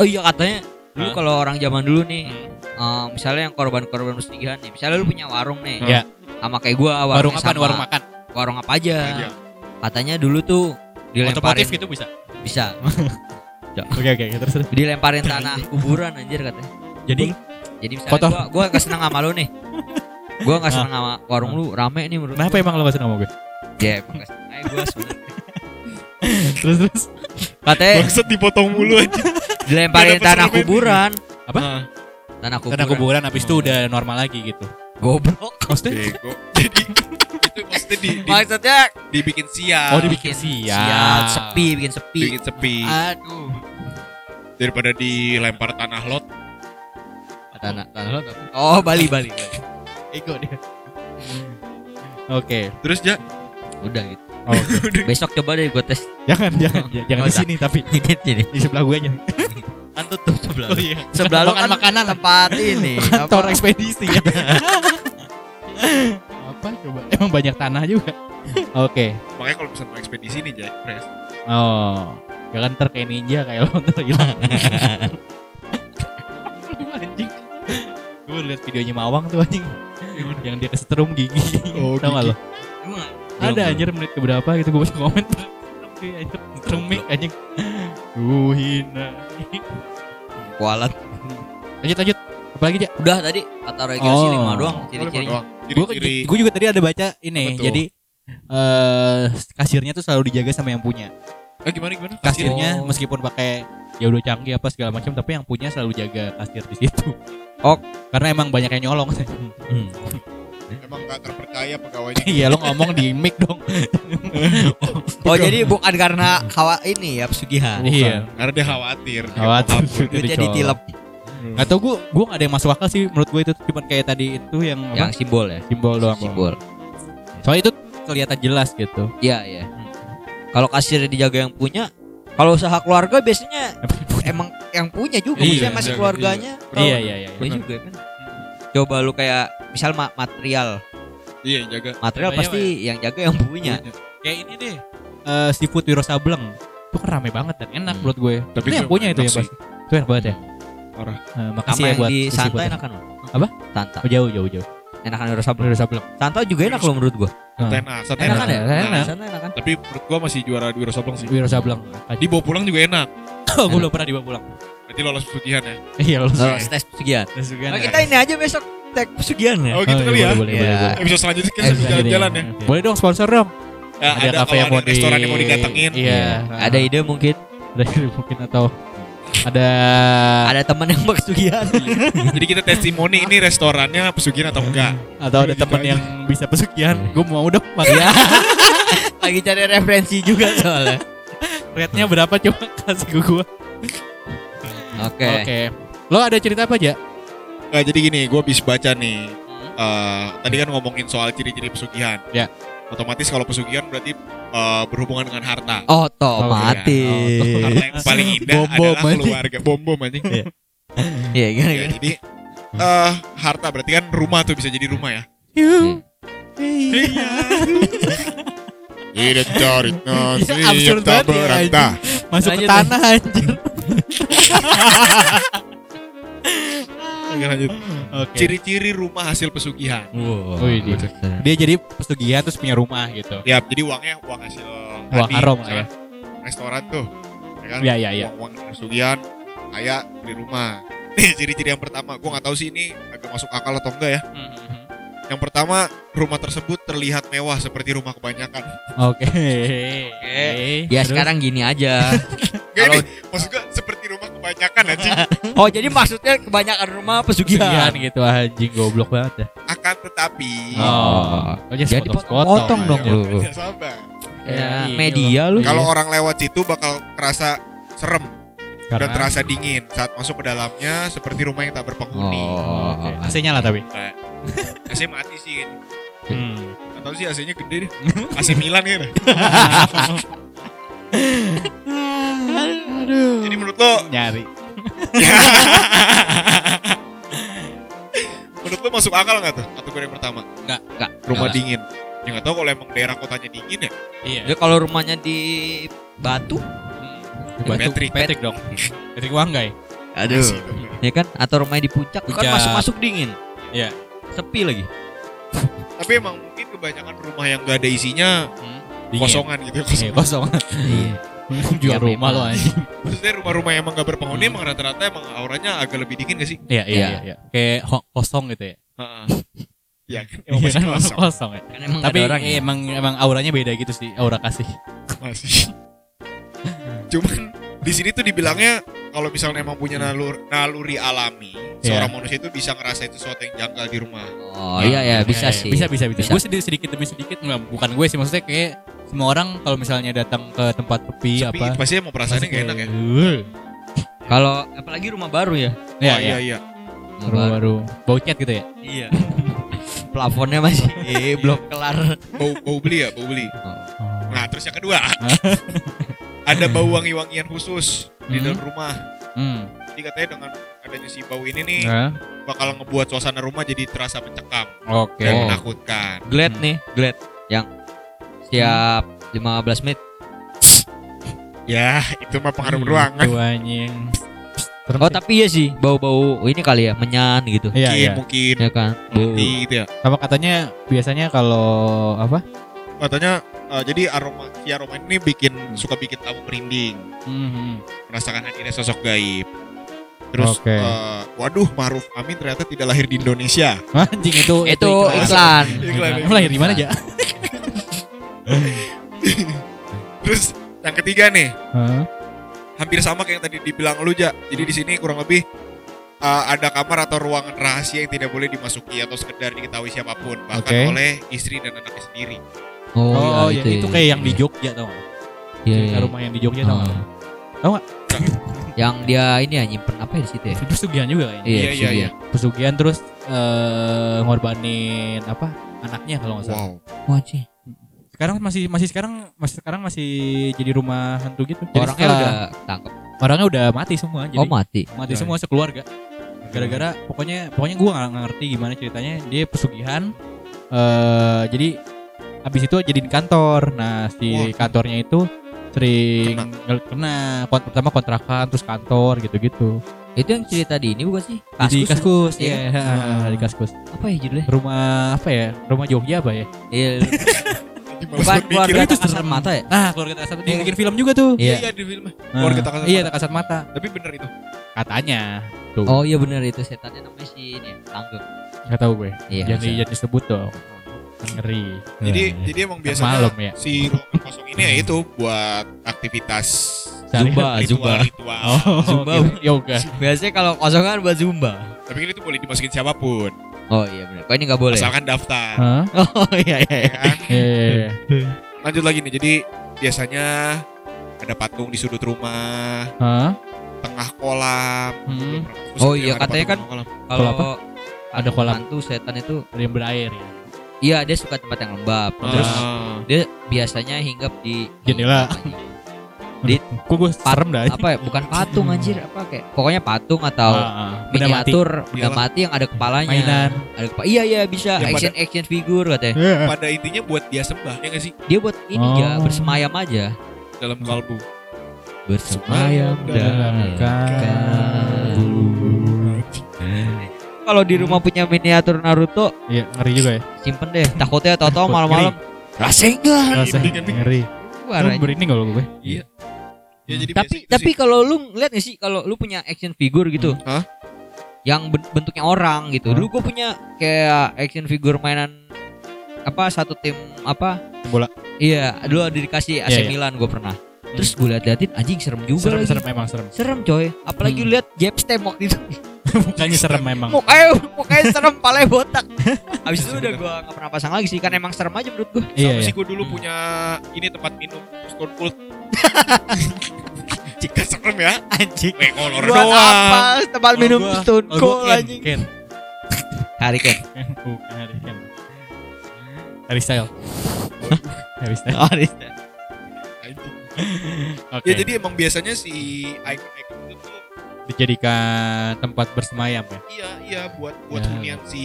Oh iya katanya dulu
Hah?
kalau orang zaman dulu nih eh, misalnya yang korban-korban pesugihan nih, misalnya lu punya warung nih,
Iya.
sama kayak gua
Warung
warungnya
apa?
sama-
Warung makan.
warung apa aja.
Iya.
Katanya dulu tuh dilemparin
Otomotif gitu bisa.
bisa
Oke oke, terus terus.
dilemparin tanah kuburan anjir katanya.
Jadi
Jadi misalnya
Kotor.
gua gua gak seneng sama lu nih. Gua gak seneng sama warung lu rame nih menurut.
kenapa
gua.
emang lo gak senang sama gue?
Ya emang gak seneng aja gua sebenernya.
Terus terus.
Katanya
Bangsat dipotong mulu aja.
dilemparin
Gak ada
tanah
pesan
kuburan.
Apa?
Tanah kuburan.
Hmm. Karena kuburan habis itu udah normal lagi gitu.
Goblok.
Maksudnya?
Bego. Jadi itu maksudnya di, di-
Maksudnya
dibikin sial.
Oh, dibikin siap.
sepi, bikin sepi.
Bikin sepi
Ah. Aduh.
daripada dilempar tanah lot.
Tanah, tanah lo apa? Oh, Bali, Bali. Bali.
Ego dia. Oke.
Terus ya
Udah gitu.
Oke.
Besok coba deh gue tes
Jangan, jangan, j- jangan di
Nggak usah.
sini tapi
ini sini.
di sebelah gue aja.
Kan tutup sebelah.
Oh iya.
Sebelah lo
Makan
kan
makanan.
tempat ini.
Kantor
apa?
ekspedisi ya. Apa coba? Emang banyak tanah juga. Oke.
makanya kalau misalnya mau ekspedisi nih Jack Pres.
Oh. Jangan ntar kayak ninja kayak lo ntar hilang. Lu anjing. Gue liat videonya Mawang tuh anjing. Yang dia kesetrum gigi.
Oh,
Tau gak
gigi.
lo?
Emang?
Ada
Belum,
anjir menit keberapa gitu gue baca komen. Oke, anjir. Setrum mic anjing. Duh, hina.
belum. Kualat.
Lanjut lanjut. Apalagi aja?
Udah tadi kata Roy Kiyoshi
Oh.
lima doang
Ciri-ciri.
ciri-cirinya.
Ciri-ciri.
Gue juga tadi ada baca ini.
Apa tuh?
Jadi eh kasirnya tuh selalu dijaga sama yang punya.
Eh, gimana gimana? Kasir.
Kasirnya
Oh.
meskipun pakai ya udah canggih apa segala macam tapi yang punya selalu jaga kasir di situ.
Ok.
Karena emang banyak yang nyolong.
Emang gak terpercaya pegawainya.
Iya lo ngomong di mic dong.
Oh, jadi bukan karena hawa ini ya pesugihan.
Gitu. Iya. gitu
Karena dia khawatir. Dia
Khawatir.
mau kabur.
Duitnya
Dicolong.
ditilep
Gak tau gue gue gak ada yang masuk akal sih menurut gue itu cuman kayak tadi itu yang
yang
apa?
simbol ya.
simbol doang.
Simbol.
Soalnya itu kelihatan jelas gitu.
Iya, iya. Kalau kasir dijaga yang punya, kalau usaha keluarga biasanya emang yang punya juga,
Iya,
maksudnya masih
iya,
keluarganya. atau-
Iya iya iya.
Iya juga kan. Coba lu kayak misal ma- material,
Iya, jaga.
material
Banyak,
pasti yang jaga yang punya.
Iya, Kayak ini deh. eh seafood Wiro Sableng. Itu kan rame banget dan enak
Hmm.
menurut gue.
Tapi
itu yang punya itu ya,
sih.
Bas. Itu enak banget ya.
Parah.
Eh, makasih
Sama
ya
yang
buat
di
si
santai
seafood.
enakan lu.
Apa?
Santai.
Oh, jauh jauh jauh.
Enakan Wiro Sableng.
Wiro Sableng.
Santai juga enak loh menurut gua.
Tenak, sate
Enakan ya?
enak.
Enak. Santai enakan.
Tapi menurut gua masih juara Wiro Sableng sih.
Wiro Sableng. Tadi
Dibawa pulang juga enak.
gue belum pernah dibawa pulang.
Berarti lolos pesugihan ya.
Iya lo.
Loh, tes pesugihan. Nah, kita ini aja besok tek pesugihan ya.
Oh gitu
iya,
kali ya.
Boleh boleh
Iya.
boleh. boleh.
Episode selanjutnya kita
Eh,
sambil jalan-jalan ya.
Oke. Boleh dong sponsor dong.
Ya, Ada
kafe
kalau ada restoran yang mau didatengin.
Iya.
Ada ide mungkin,
ada mungkin atau ada
ada teman yang mau pesugihan.
Iya.
Jadi kita testimoni ini restorannya pesugihan atau enggak.
atau ada
Gitu
teman
aja.
yang bisa pesugihan.
Iya.
Gue mau dong. Makanya
Lagi cari referensi juga soalnya.
rate-nya berapa coba kasih ke gue.
Oke. Iya.
Oke. Lo ada cerita apa aja?
Nah, jadi gini, gue habis baca nih. eh, tadi kan ngomongin soal ciri-ciri pesugihan.
Hmm. Ya.
Otomatis kalau pesugihan berarti eh, berhubungan dengan harta.
Otomatis.
Harta yang paling indah
Oh, iya. Bom-bom
adalah
anjing.
keluarga. Bom-bom anjing.
Iya.
Iya, gimana,
Ya,
gimana?
jadi eh harta berarti kan rumah tuh bisa jadi rumah ya.
Iya.
Iya.
Tidak dari
Ya, absurd banget ya, Masuk
Lanjut,
ke tanah anjir.
lanjut.
Oke.
Ciri-ciri rumah hasil pesugihan.
Wow.
Wih, dia. Dia jadi pesugihan terus punya rumah gitu.
Ya, jadi uangnya uang hasil
Uang
tadi,
haram lah ya.
misalnya Restoran tuh. Ya kan?
Iya, iya, iya.
Uang, uang pesugihan kayak beli rumah. Nih ciri-ciri yang pertama, gua nggak tahu sih ini agak masuk akal atau enggak ya. Yang pertama, rumah tersebut terlihat mewah seperti rumah kebanyakan.
Oke.
Ya
Terus?
sekarang gini aja.
Gak ini,
Kalau-
maksud gua seperti rumah kebanyakan anjing.
Oh jadi maksudnya kebanyakan rumah
pesugihan
pesugihan.
gitu anjing goblok banget dah.
Akan tetapi,
Oh. Oh,
Jadi potong-potong dong
ayo,
lu.
ya sabar.
Ya,
Ya,
iya,
media lu.
Kalau orang lewat situ bakal terasa serem dan
Karena
terasa dingin saat masuk ke dalamnya seperti rumah yang tak berpenghuni.
Oh.
Oke. AC-nya lah tapi.
AC mati sih.
Hmm.
Atau sih AC-nya gede deh. AC Milan gitu.
Aduh.
Jadi menurut lo,
Nyari.
menurut lo masuk akal nggak tuh kategori yang pertama?
Nggak.
Nggak.
Rumah
Nggak.
dingin. Ya nggak tahu kalau emang daerah kotanya dingin ya.
Iya.
Jadi kalau rumahnya di Batu,
Batu
Patrick.
Patrick dong. Patrick Wanggai.
aduh.
AC itu.
Ya kan atau rumahnya di puncak, kan
Puncak.
masuk-masuk dingin.
Iya.
Sepi lagi.
Tapi emang mungkin kebanyakan rumah yang nggak ada isinya
Dingin.
kosongan gitu.
Eh,
Kosong.
kosong. Iya, Jual
Ya,
rumah lo
memang.
anjing.
Maksudnya rumah-rumah yang emang nggak berpenghuni emang rata-rata emang auranya agak lebih dingin gak sih?
Iya, iya,
Iya.
iya, iya. Kayak ho- kosong gitu ya.
Heeh. ya kan, emang
Iya,
masih
kan,
kosong.
kosong ya.
Kan emang
Tapi
ada orang.
eh,
ya.
emang emang auranya beda gitu sih, aura kasih.
Masih. Cuman di sini tuh dibilangnya kalau misalnya emang punya nalur naluri alami,
Iya.
seorang manusia itu bisa ngerasain sesuatu yang janggal di rumah.
Oh iya ya
Ya,
bisa
ya,
sih.
Bisa bisa bisa.
Bisa.
Gue sedikit, sedikit demi sedikit nggak bukan gue sih maksudnya kayak semua orang kalau misalnya datang ke tempat sepi,
Tapi
Iya, apa Iya,
pasti emang perasaannya
pasti
gak enak ya.
kayak, gitu. "Wuh."
Kalau apalagi rumah baru ya.
Ya,
Wah,
ya.
iya iya.
Rumah
Rumah
baru.
baru. Bau cat gitu ya.
Iya. Plafonnya masih
Iya.
eh, belum kelar.
Bau bau beli ya, bau beli.
Oh.
Nah, terus yang kedua. ada bau wangi-wangian khusus di
Hmm.
dalam rumah.
Hmm.
Jadi katanya dengan adanya si bau ini nih
Hah?
bakal ngebuat suasana rumah jadi terasa mencekam
Oke.
dan
Oh.
menakutkan.
Glad
Hmm.
nih, glad. Yang setiap 15 menit.
Ya, itu mah pengaruh
Hmm.
ruangan.
Itu anjing.
Oh tapi iya sih bau-bau ini kali ya menyan gitu.
Iya,
Mungkin
iya.
mungkin
Ya kan. Bau.
mati gitu ya.
Sama katanya biasanya kalau apa?
Katanya eh, jadi aroma si aroma ini bikin suka bikin tamu merinding,
Mm-hmm.
Hmm.
merasakan hadirnya sosok gaib. Terus
Oke.
eh, waduh Maruf Amin ternyata tidak lahir di Indonesia.
Anjing itu
Itu iklan.
Iklan,
Emang lahir di mana aja?
Terus yang ketiga nih, hampir sama kayak yang tadi dibilang lu ja. Jadi di sini kurang lebih uh, ada kamar atau ruangan rahasia yang tidak boleh dimasuki atau sekedar diketahui siapapun bahkan
Oke.
oleh istri dan anaknya sendiri.
Oh,
Oh, ya,
ya.
itu kayak yang di Jogja tau gak?
Iya,
Cerita
iya.
rumah yang di Jogja tau
Ah.
gak? Tau nggak?
Yang dia ini ya nyimpen apa ya di situ ya?
Pesugihan juga kayaknya.
Iya, iya,
iya.
Pesugihan terus eh, ngorbanin apa anaknya kalau nggak salah.
Wah, sih. Iya.
Sekarang masih masih sekarang masih sekarang masih jadi rumah hantu gitu. Jadi
Orangnya
setelah-
udah tangkap.
orangnya udah mati semua. Jadi
Oh, mati.
mati semua sekeluarga. Gara-gara pokoknya pokoknya gua nggak nggak ngerti gimana ceritanya dia pesugihan. eh jadi habis itu jadiin kantor. Nah si
Wah.
kantornya itu sering
Kena.
ngel- kena, kont- pertama kontrakan terus kantor gitu-gitu.
Itu yang cerita di ini bukan sih?
Di kaskus,
iya
iya,
kan?
heeh,
Ah.
di kaskus.
Apa ya judulnya?
Rumah apa ya? Rumah Jogja apa ya?
Iya. Bukan keluarga itu kasat mata ya?
Ah, keluarga tak kasat. Dia bikin film juga tuh.
Iya.
Iya, iya di film.
Ah,
Keluarga tak kasat
Iya,
mata.
tak kasat mata.
Tapi bener itu.
Katanya.
Oh iya benar itu setannya namanya si ini ya, Langgeng.
Gak tahu gue.
Iya.
Jangan
bisa.
jangan disebut dong. Kan Ngeri.
Iya,
Jadi
Eh.
jadi emang biasanya
malam ya.
si ruangan kosong ini ya itu buat aktivitas
Sehari-
Zumba. Ah, Zumba.
ritual-ritual.
Oh,
Zumba.
gitu. yoga.
Biasanya kalau kosongan buat Zumba.
Tapi kan itu boleh dimasukin siapapun,
Oh iya benar. Kok ini nggak boleh?
asalkan daftar.
Hah?
Oh iya iya.
ya kan?
Iya, iya, iya.
Lanjut lagi nih. Jadi biasanya ada patung di sudut rumah,
Hah?
tengah kolam.
Hmm.
Terus
Oh iya,
yang ada
katanya
patung
kan-
tengah kolam.
Kalau apa?
Kalau
Ada kolam.
hantu setan itu
Ada yang berair ya.
iya dia suka tempat yang lembab. Terus
Ah.
dia biasanya hinggap di
Jendela.
Di-
Kok gue serem dah.
apa ya? Bukan patung anjir apa kayak. Pokoknya patung atau
Ah, ah. Benda mati.
miniatur benda
Iyalah.
mati yang ada kepalanya.
Mainan.
Ada kepa- iya iya bisa
Yang
action action figure katanya.
Iya.
pada intinya buat dia sembah ya gak sih
Dia buat ini
Oh.
ya bersemayam aja.
dalam
Hmm.
kalbu
Bersemayam
dalam kalbu.
Kalau di rumah punya miniatur Naruto,
Iya, ngeri juga ya.
simpen deh. Takutnya tahu-tahu
Takut
malam-malam rasengan.
Rasa
Dingin, dingin.
ngeri.
keluar
Lu
aja.
berinding kalau gue.
Iya. ya jadi
tapi
biasa gitu
tapi
sih.
kalau lu lihat gak sih kalau lu punya action figure gitu
Hmm.
Hah?
yang ben- bentuknya orang gitu
Hah?
dulu gue punya kayak action figure mainan apa satu tim apa
Bola.
iya dulu ada dikasih AC
Iya, iya.
Milan gue pernah terus gue liat-liatin anjing serem juga
Serem,
lagi
serem emang serem.
serem coy apalagi
Hmm.
lu lihat jab stem waktu itu
Mukanya serem emang.
mukanya mukanya serem palanya botak habis itu udah gue gak pernah pasang lagi sih kan emang serem aja menurut gue
Iya,
Sama
iya.
sih gue dulu punya ini tempat minum Stone Cold jika serem ya
anjing
weh kolor
buat apa
doang
tempat
Kalau
minum
Oh, gua-
stone
kalau gua
cold
Ken,
anjing
Ken.
hari Ken
Bukan Harry Ken. Harry Style. Harry Style.
Oh, Arista.
Anjing.
Oke.
ya jadi emang biasanya si icon-icon itu tuh
dijadikan tempat bersemayam ya.
iya iya buat buat
Ya.
hunian si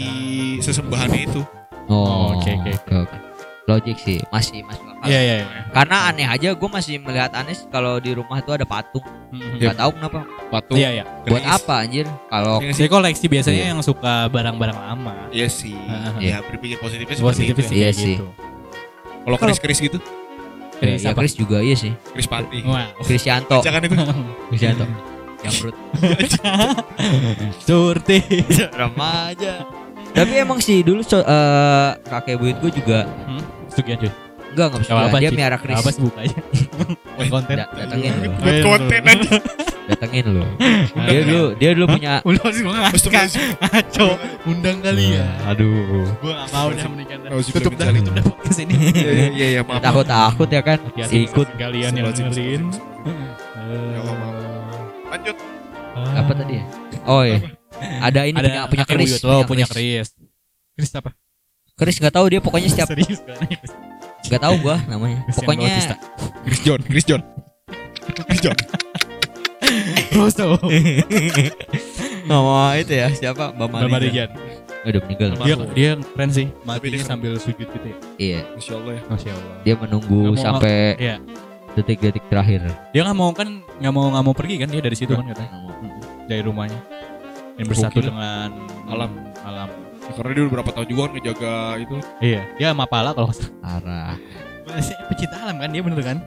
sesembahannya itu
Oh,
oke,
oke
oke,
oke
oke.
oke. Logik sih, masih masuk akal.
Iya, iya.
Karena aneh aja gue masih melihat aneh sih kalau di rumah tuh ada patung.
iya.
Gak tahu kenapa.
patung
Iya, iya.
Buat apa anjir? Kalau
Iya
Saya
sih.
koleksi biasanya
Iya.
yang suka barang-barang lama.
Iya sih.
Ah,
Ya berpikir positifnya seperti
Positif
itu.
sih
Iya
kayak
sih.
gitu.
ya. Kalau Chris Chris gitu,
ya,
Chris
ya
apa? Oh,
Chris juga iya sih.
Chris Panti.
Wow.
Krisyanto,
Jangan itu.
Krisyanto.
Hmm.
Yang perut
Surti.
remaja. Tapi emang sih dulu so, eh, kakek buyut gue juga
Sugian cuy.
enggak enggak
Gak
bisa.
apa-apa
Iya, Dia
sih.
miara
Gak apa
Kris.
sih buka aja. Buat konten.
Da- datangin dulu.
Buat konten aja.
datengin lu. Dia dulu dia dulu punya
Undang sih gua
Terus
ngakak.
terus-
Ngaco. Undang kali ya.
Iya, Aduh.
Gua gak mau dah menikah.
Nauzubillah
Tutup
min
dah,
dzalik.
tutup dah podcast ini.
Iya iya iya iya, maaf.
Takut takut ya kan
Hati-hati
ikut
kalian yang iya, dengerin. Eh, iya.
Ya Allah, maaf. Lanjut.
apa tadi ya? Oh iya. Ada ini
ah.
punya
Ada
punya Chris.
Lo punya Chris. Chris apa?
Chris nggak tahu dia pokoknya setiap
Serius kan?
nggak tahu gua namanya.
Christian Bautista.
Pokoknya
Chris John, Chris John. Chris John.
Rosso.
nama itu ya siapa? Mbak
Bapak Rijan.
Marijan. Udah meninggal.
Dia dia keren sih.
dia
Matinya
keren.
sambil sujud gitu ya.
Iya.
Masya Allah ya.
Masya Allah.
Dia menunggu
Nggak mau-
sampai
Iya.
detik-detik terakhir.
Dia nggak mau kan nggak mau nggak mau pergi kan dia dari situ kan katanya dari rumahnya dan bersatu
Gokil.
dengan
Alam.
alam.
Ya, Karena dia udah berapa tahun juga kan ngejaga itu.
Iya. Dia mapala kalau nggak
Arah.
salah. Pecinta alam kan dia bener kan?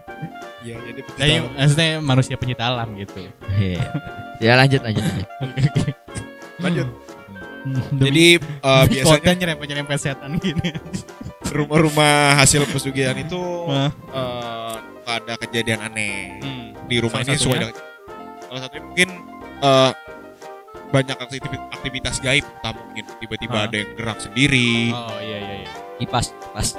Iya, jadi
Nah, iya, maksudnya manusia pencinta alam gitu.
Iya. ya lanjut lanjut. lanjut.
Lanjut.
Jadi
Jadi eh, biasanya
konten nyerempet nyerempet setan gini.
rumah-rumah hasil pesugihan itu
Hah?
eh, nggak ada kejadian aneh.
Hmm.
di rumah
Salah
ini sesuai
satunya?
dengan salah satunya mungkin eh, banyak aktivitas, aktivitas gaib entah mungkin tiba-tiba
Ah.
ada yang gerak sendiri
Oh iya iya iya.
Kipas kipas.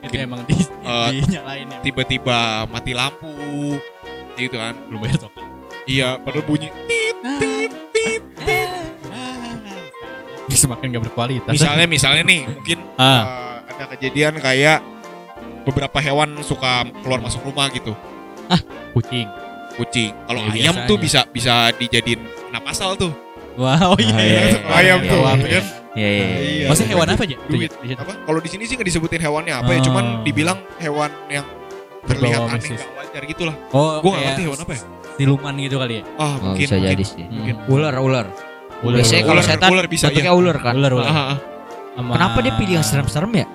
Itu emang di,
Eh,
dinyalain ya.
tiba-tiba mati lampu gitu kan
Belum bayar token.
iya padahal bunyi tit, tit, tit.
Semakin gak berkualitas.
misalnya misalnya nih mungkin
ah,
eh, ada kejadian kayak beberapa hewan suka keluar masuk rumah gitu
kucing.
kucing kalau
Ya,
ayam tuh bisa
biasanya.
bisa dijadiin kena pasal tuh
Wah, oh iya.
Ah,
iya.
iya,
Kalau ayam
iya,
tuh
iya,
ya kan?
Iya iya. iya.
Maksudnya hewan apa aja?
Duit. apa kalau di sini sih nggak disebutin hewannya apa ya
Ah.
cuman dibilang hewan yang terlihat
Berbau
aneh
mistis.
nggak wajar gitulah
Oh,
gue nggak ngerti hewan apa ya
Siluman gitu kali ya. Hmm.
ah
Oh,
mungkin
bisa
mungkin.
jadi sih.
Mungkin.
Ular ular.
Ular,
Biasanya kalau
Ular,
setan
ular bisa,
bentuknya
iya.
ular kan.
Ular,
Ah,
ular.
ah, ah.
Sama-
Kenapa dia pilih yang serem-serem ya?
Iya.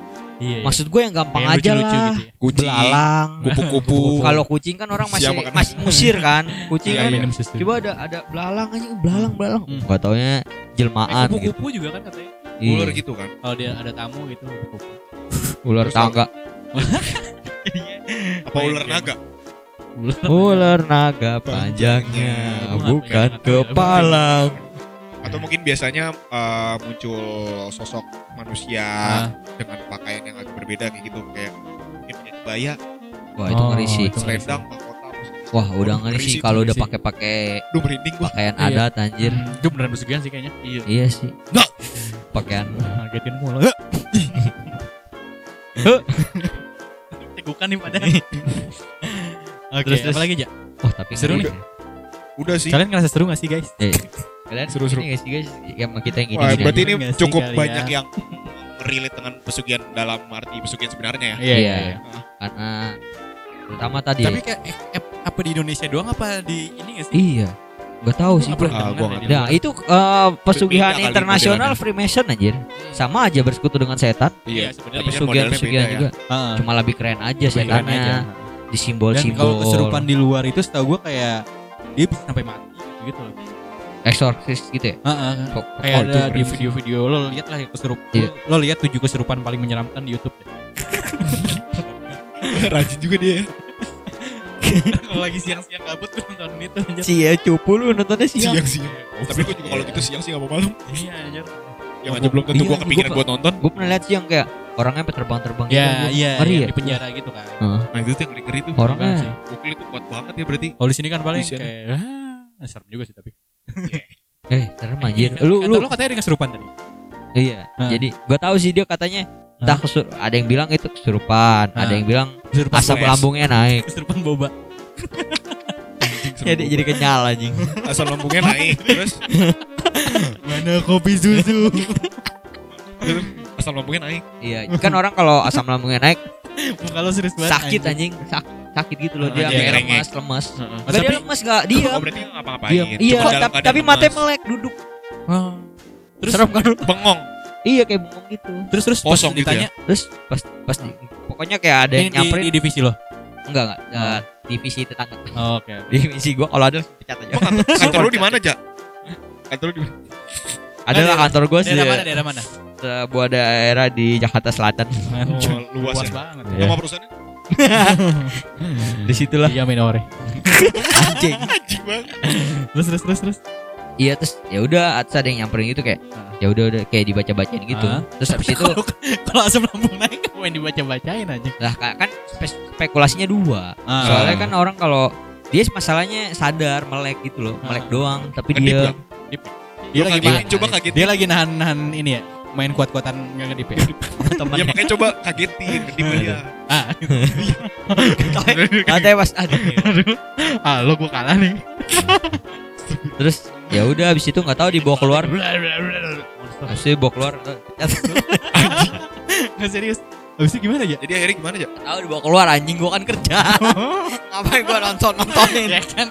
iya.
Maksud gue yang gampang
Yang
aja
lucu-lucu
lah.
gitu ya.
kucing
Belalang.
kupu-kupu
Kalau kucing kan orang masih
Siapa kan?
masih musir kan. Kucing
Iya,
kan.
iya.
Minum susu.
Coba ada ada belalang aja, belalang belalang.
Hmm.
Enggak taunya jelmaan gitu.
kupu-kupu juga kan katanya.
Iya.
ular gitu kan
Ah, Kalau dia ada tamu gitu kupu-kupu.
Ular tangga.
apa ular naga
Ular.
Ular naga panjangnya bukan kepala.
atau mungkin biasanya eh, muncul sosok manusia
Ah.
dengan pakaian yang agak berbeda kayak gitu kayak mungkin punya kebaya
Wah itu
Oh,
ngeri sih.
itu.
selendang mahkota apa segala.
Wah udah ngeri sih kalau udah
sih.
pakai pakai
Aduh, merinding gua
pakaian
Iya.
adat anjir.
Hmm, Itu beneran pesugihan sih kayaknya. Iya.
Iya sih.
Nggak.
Pakaian.
Ngagetin mulu. Tegukan nih pada. Oke,
Iya. Terus, terus.
apa lagi, Ja?
Wah tapi
Seru
ngeri.
udah sih
Kalian ngerasa seru gak sih, guys?
Eh, Kalian
Seru-seru.
ini nggak sih guys yang sama kita yang gini.
Wah,
gini
berarti
aja?
ini
Nggak sih
cukup
kali ya?
banyak yang relate dengan pesugihan dalam arti pesugihan sebenarnya ya
Iya. karena terutama tadi. ya,
Tapi kayak eh, eh, apa di Indonesia doang apa di ini gak sih?
Iya. Gak tahu sih
Gua nggak
gue.
pernah dengar
Ah, gua
deh
nggak
dia.
Nah itu eh, pesugihan
Beda kali
internasional
modelannya.
Freemason anjir. Sama aja bersekutu dengan setan.
Iya,
Tapi
sebenarnya.
kan
Pesugihan
modelnya
pesugihan
beda ya.
juga.
Heeh.
Cuma lebih keren aja
Lebih keren aja.
setannya. Di
Dan kalau
simbol-simbol.
keserupan di luar itu setahu gue kayak dia bisa sampai mati gitu loh.
Exorcist gitu ya.
Heeh.
Kok-
Kayak
oh, itu
ada di
keren sih.
video-video lo lihat lah ya, keserup.
Iya.
Lo lihat tujuh keserupan paling menyeramkan di YouTube. deh.
rajin juga dia
kalau lagi siang-siang kabut tuh nonton itu aja.
Cie cupu lu nontonnya siang.
siang siang tapi gue juga kalau gitu siang sih nggak mau malam
Iya anjir.
yang aja belum tentu
Iya,
gue kepikiran
gua-
buat nonton
Gue pernah lihat siang kayak orangnya sampai terbang-terbang
Ya, iya,
Ngeri
yang
ya?
di penjara gitu kan.
Heeh.
nah itu tuh yang ngeri ngeri tuh
Orangnya
Banget sih.
gokil itu kuat banget ya berarti
Kalau di sini kan paling
Di sini.
kayak ah, serem juga sih tapi.
eh serem anjir. Lu
Kata
lu
lo katanya ada keserupan tadi.
iya.
Hah.
Jadi gua tahu sih dia katanya entah kesur- ada yang bilang itu kesurupan,
Hah.
ada yang bilang
Kesurupan
asap
Wes.
lambungnya naik.
keserupan boba. Ya,
Jadi jadi kenyal anjing.
asal lambungnya naik terus
Mana kopi susu?
asal lambungnya naik
Iya, kan orang kalau asam lambungnya naik
Muka lo serius banget.
sakit anjing, Sak- sakit gitu loh dia
Iya,
kayak
rengek.
lemas, lemas. Gak
Tapi-
dia lemas gak dia.
oh berarti nggak apa ngapain
Diam. Iya, tapi, tapi matanya melek duduk.
Terus
Serem kan lu?
bengong
Iya kayak bengong gitu.
terus terus pas
Kosong gitu
ditanya
Terus pas pas di- pokoknya kayak ada
ini
yang
di,
nyamperin
di divisi lo. Oh,
enggak enggak eh, divisi tetangga.
Oke.
Divisi gua kalau ada langsung pecat aja.
Emang kantor- kantor lu di mana ja kantor lu di mana
Ada lah kantor gua sih
Daerah mana? Daerah mana?
sebuah daerah di Jakarta Selatan.
luas ya
banget.
Iya.
nama perusahaannya
Disitulah
Iya minore.
anjing
Anjing banget.
Terus terus terus terus
iya terus ya udah atas ada yang nyamperin gitu kayak ya udah udah kayak dibaca bacain gitu
Ah.
terus habis itu
Kalau kalau asam lambung naik
Main dibaca-bacain aja.
lah ka- kan spe- spekulasinya dua
Ah.
soalnya kan orang kalau dia masalahnya sadar melek gitu loh melek doang tapi
Ngedip
dia
ya? Dia lagi
gimana?
coba
gitu.
kagetin.
Dia lagi nahan-nahan ini ya Main kuat-kuatan nggak ngedip ya
Ya
Temennya
makanya coba kagetin, kedip dia.
Ah.
katanya pas aduh
Ah lo gue kalah nih
terus ya udah habis itu nggak tahu dibawa keluar habis itu dibawa keluar nggak
Nggak serius Abis itu gimana ya
Jadi akhirnya gimana ya?
tahu dibawa keluar anjing gua kan kerja ngapain gua nonton nontonin
Ya kan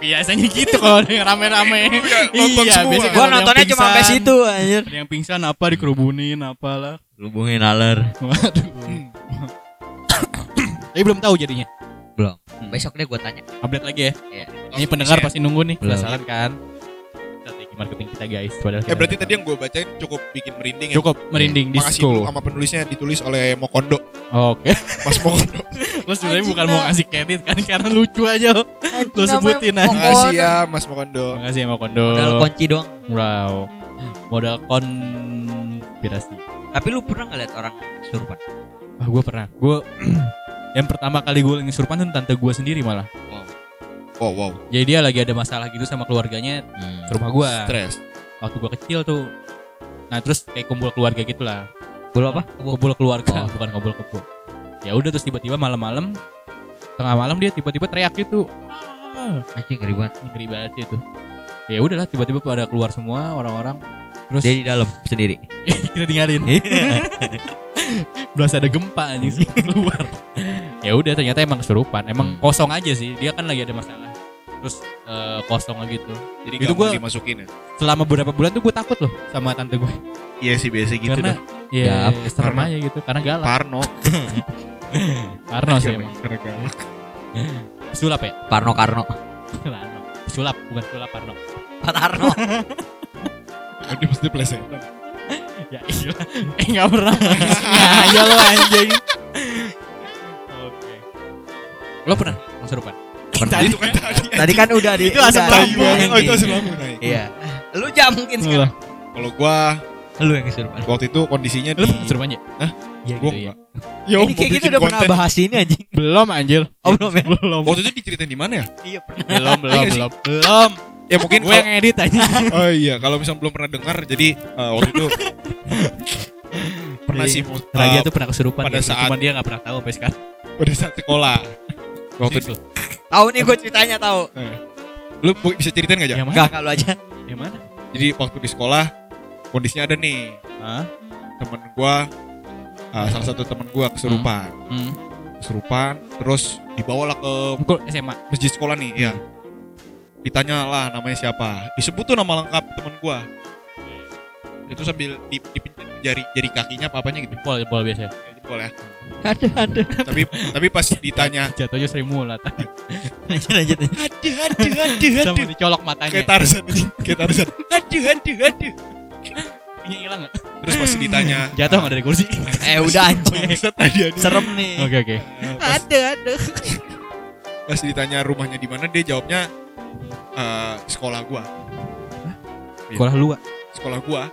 Biasanya gitu kalau ada yang rame-rame
Iya,
nonton semua.
Iya, biasanya kalau
gua
ada yang
nontonnya cuma sampai
pingsan,
situ anjir
Ada yang pingsan apa dikerubunin apalah
hubungin aler
Waduh Tapi belum tahu jadinya
belum besok deh gua tanya
Update lagi ya Ini
Langsung
pendengar
di-share.
pasti nunggu nih
Iya. Belum.
Penasaran kan Strategi marketing kita guys Padahal
Eh
kita-
berarti tadi yang gue bacain cukup bikin merinding ya.
Cukup merinding
Makasih dulu
disco
sama penulisnya ditulis oleh Mokondo.
Oke
Mas Mokondo.
Lo sebenarnya bukan mau ngasih kredit kan Karena lucu aja lo Lo sebutin aja
Makasih ya Mas Mokondo.
Makasih sama Kondo
modal kunci doang
Wow Modal konspirasi
tapi lu pernah nggak lihat orang kesurupan
Ah, gue pernah. Gue yang pertama kali gue ngesurupan tuh tante gue sendiri malah.
Wow wow.
Jadi dia lagi ada masalah gitu sama keluarganya
Hmm.
ke rumah gue.
Stres.
Waktu gue kecil tuh. Nah terus kayak kumpul keluarga gitulah.
Belum apa
Kumpul keluarga,
Oh.
bukan kumpul kumpul. Ya udah terus tiba-tiba malam-malam tengah malam dia tiba-tiba teriak gitu. Ah,
anjing ngeri banget
ngeri banget sih itu. Ya udahlah tiba-tiba pada keluar semua orang-orang. Terus
dia di dalam sendiri
kita tinggalin berasa ada gempa anjing sih keluar ya udah ternyata emang kesurupan emang
Hmm.
kosong aja sih dia kan lagi ada masalah terus eh, kosong aja gitu
Jadi
Itu
itu
gua-
gue dimasukin ya.
selama beberapa bulan tuh gue takut loh sama tante gue
Iya sih biasa gitu
karena
dah.
ya,
Gap.
serem
Karena-
aja gitu karena galak
Parno. Iya,
Parno sih emang
Karena galak.
sulap ya
Parno Karno
Parno. sulap bukan sulap Parno
Pak Arno
Aduh mesti plesetan.
ya iya eh nggak pernah ya lo anjing oke lo pernah kesurupan
Tadi itu kan tadi.
tadi kan udah di
Itu asam
udah
lambung.
di-
Oh itu asli lambung naik.
iya lu jam mungkin sekarang
Kalau gue
lu yang kesurupan
waktu itu kondisinya
lo
di
pernah kesurupan ya
Iya,
gue
gitu ya.
enggak. Ya,
ini kayak gitu udah pernah bahas ini anjing
belum anjir
oh belum ya
belum
Waktu itu diceritain di mana ya?
iya pernah
belum belum
Iya sih.
belum belum
Ya mungkin
gue yang edit aja
Oh iya, kalau misalnya belum pernah dengar, jadi eh, waktu itu pernah sih eh,
Raja Iya. tuh pernah kesurupan
pada
gitu,
saat-
cuman dia nggak pernah tahu sampai sekarang Gitu.
pada saat sekolah. Waktu itu,
tahu nih gue ceritanya tahu
eh, lu bu- bisa ceritain gak ya?
yang mana
enggak kalau aja
yang mana
Jadi waktu di sekolah kondisinya ada nih
Hah?
temen gua, eh, salah satu temen gua kesurupan,
hmm.
kesurupan, terus dibawalah ke
Pukul eh, SMA
masjid sekolah nih, ya. Ditanya lah namanya siapa, disebut tuh nama lengkap temen gua. Itu sambil di, di- jari jari kakinya apa apanya gitu.
jempol jempol biasa
Ya, jempol ya.
ada ada
tapi tapi pas ditanya
jatuhnya sering mulat
lanjut lanjut lanjut.
aduh aduh aduh
sama dicolok matanya
kayak Tarzan anjing. kayak Tarzan aduh aduh aduh
Ini hilang nggak?
terus pas ditanya
jatuh nggak dari kursi
eh udah Iya. anjing
Bangsat tadi aduh.
serem nih
oke oke
pas,
ada ada
eh, pas ditanya rumahnya di mana dia jawabnya eh, sekolah gua
sekolah lu Wak?
sekolah gua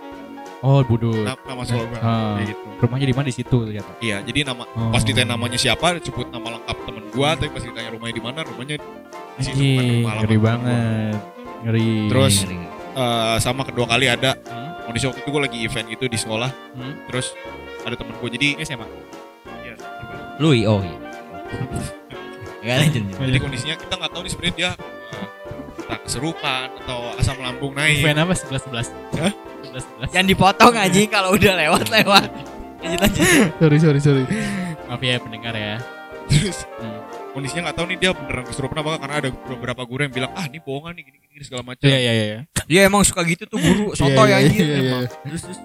oh budut
na- nama sekolah gua
Ah.
Kayak gitu
rumahnya di mana di situ ternyata
iya jadi nama
Oh.
pas ditanya namanya siapa sebut nama lengkap temen gua tapi pas ditanya rumahnya di mana rumahnya di situ bukan di
Anjing,
rumah halaman
ngeri
temen gua.
banget ngeri
Terus, Eh, sama kedua kali ada kondisi waktu itu gua lagi event gitu di sekolah
Hmm.
terus ada temen gua jadi
SMA
lu oh iya Enggak lanjut lanjut.
Nah, Jadi kondisinya kita nggak tahu nih sebenarnya dia eh, entah keserupan atau asam lambung naik.
event apa sebelas sebelas
Hah?
sebelas sebelas
jangan dipotong anjing kalau udah lewat lewat lanjut lanjut
sorry sorry sorry maaf ya pendengar
Iya,
ya
Terus
Hmm.
kondisinya nggak tahu nih dia beneran keserupan apa karena ada beberapa guru yang bilang ah ini bohongan nih gini-gini segala macam.
iya iya iya
dia emang suka gitu tuh guru soto ya
Iya,
anjing emang. Terus, terus.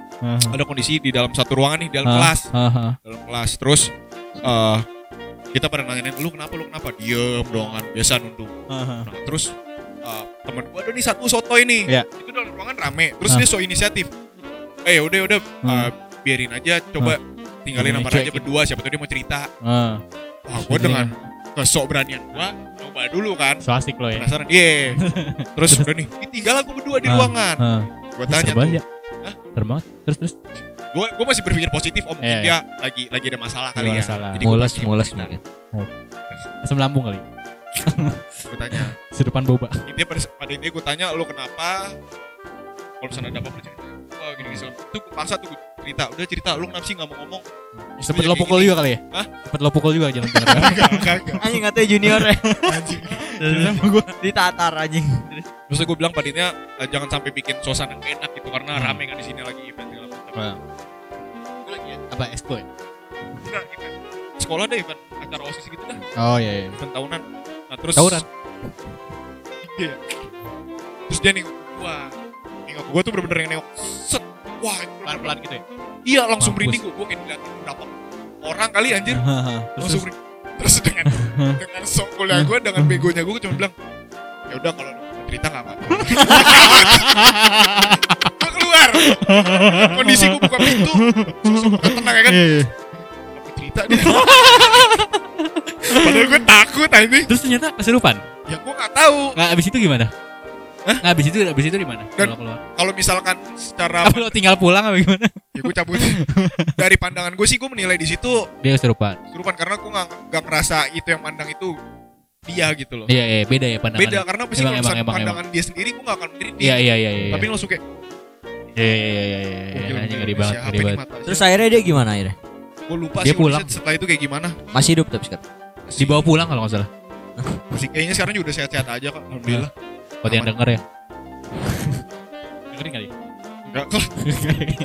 Ada kondisi di dalam satu ruangan nih di dalam
Ah,
kelas,
ah, ah.
dalam kelas. Terus eh, kita pada nanyain lu kenapa lu kenapa diem doangan biasa nunduk. Nah, terus eh, teman gua ada nih satu soto ini.
Iya.
Itu dalam ruangan rame. Terus
Ah.
dia so inisiatif. Eh udah udah
Hmm.
biarin aja coba tinggalin
Ini
nama aja
cuekin.
berdua siapa tahu dia mau cerita.
Ah.
Wah, gue dengan kesok beranian gua coba dulu kan.
So asik lo ya.
Penasaran. Iya. Terus udah nih, ditinggalan gue berdua di
Ah.
ruangan.
Heeh.
Gue tanya
Serem banget
tuh,
ya. Serem banget. Terus terus.
gue gue masih berpikir positif om mungkin
Iya,
dia lagi lagi ada masalah
Ada
kali ya.
masalah.
gua
mules
tanya,
mules mungkin
Asam lambung kali.
Gue tanya,
Sedupan boba.
intinya pada, pada intinya gue tanya lo kenapa kalau misalnya ada apa-apa cerita wah gini gini tuh gue paksa tuh gua cerita udah cerita lo kenapa sih nggak mau ngomong
Sempet lo pukul juga kali ya?
Hah?
Sempet lo pukul juga jangan jangan.
Enggak, enggak, enggak.
anjing katanya junior ya
Anjing.
ditatar anjing
terus gue bilang panitia eh, jangan sampai bikin suasana nggak enak gitu karena rame kan di sini lagi event segala macam
Iya.
Gua lagi ya,
Apa expo ya?
enggak, event. gitu." sekolah deh event acara osis gitu dah
Oh iya iya.
event tahunan nah terus
Tawuran.
Iya. terus dia nengok gua nengok gua tuh bener-bener yang nengok set wah
Pelan-pelan gitu ya.
Iya langsung
Mampus.
merinding gue, gue kayak diliatin berapa orang kali anjir
Terus
langsung
terus.
merinding. Terus dengan dengan songkolnya gue, dengan begonya gue, gue cuma bilang ya udah kalau lu mau cerita nggak apa-apa. gue keluar. Kondisi gue buka pintu, langsung gue tenang ya kan.
Iya,
Apa cerita dia? Padahal gue takut anjing.
Terus ternyata kesurupan.
Ya gue nggak tahu.
Nggak abis itu gimana? Nggak abis itu abis itu di mana?
Dan-
Kalau keluar.
Kalau misalkan secara
Apa lo tinggal pulang apa gimana?
ya gue cabut dari pandangan gue sih gue menilai di situ
Dia kesurupan.
kesurupan karena gue nggak nggak ngerasa itu yang mandang itu dia gitu loh.
Iya iya beda ya pandangan.
beda karena
Emang,
pasti kalau
emang,
misalnya
emang,
pandangan dia sendiri gue gak akan mengkritik
Iya iya iya iya.
tapi langsung kayak "Oh,
Iya iya iya iya, iya, iya.
gokil,
Ini
gokil,
ngeri banget,
siapa
ngeri
nih
banget.
mata?
terus akhirnya dia gimana akhirnya
gue lupa
Dia
sih
pulang.
Indonesia setelah itu kayak gimana
masih hidup tapi sekarang
Dibawa pulang kalau nggak salah.
sih kayaknya sekarang juga udah sehat-sehat aja kok alhamdulillah
Buat yang
Aman.
denger ya. Dengerin kali.
enggak kok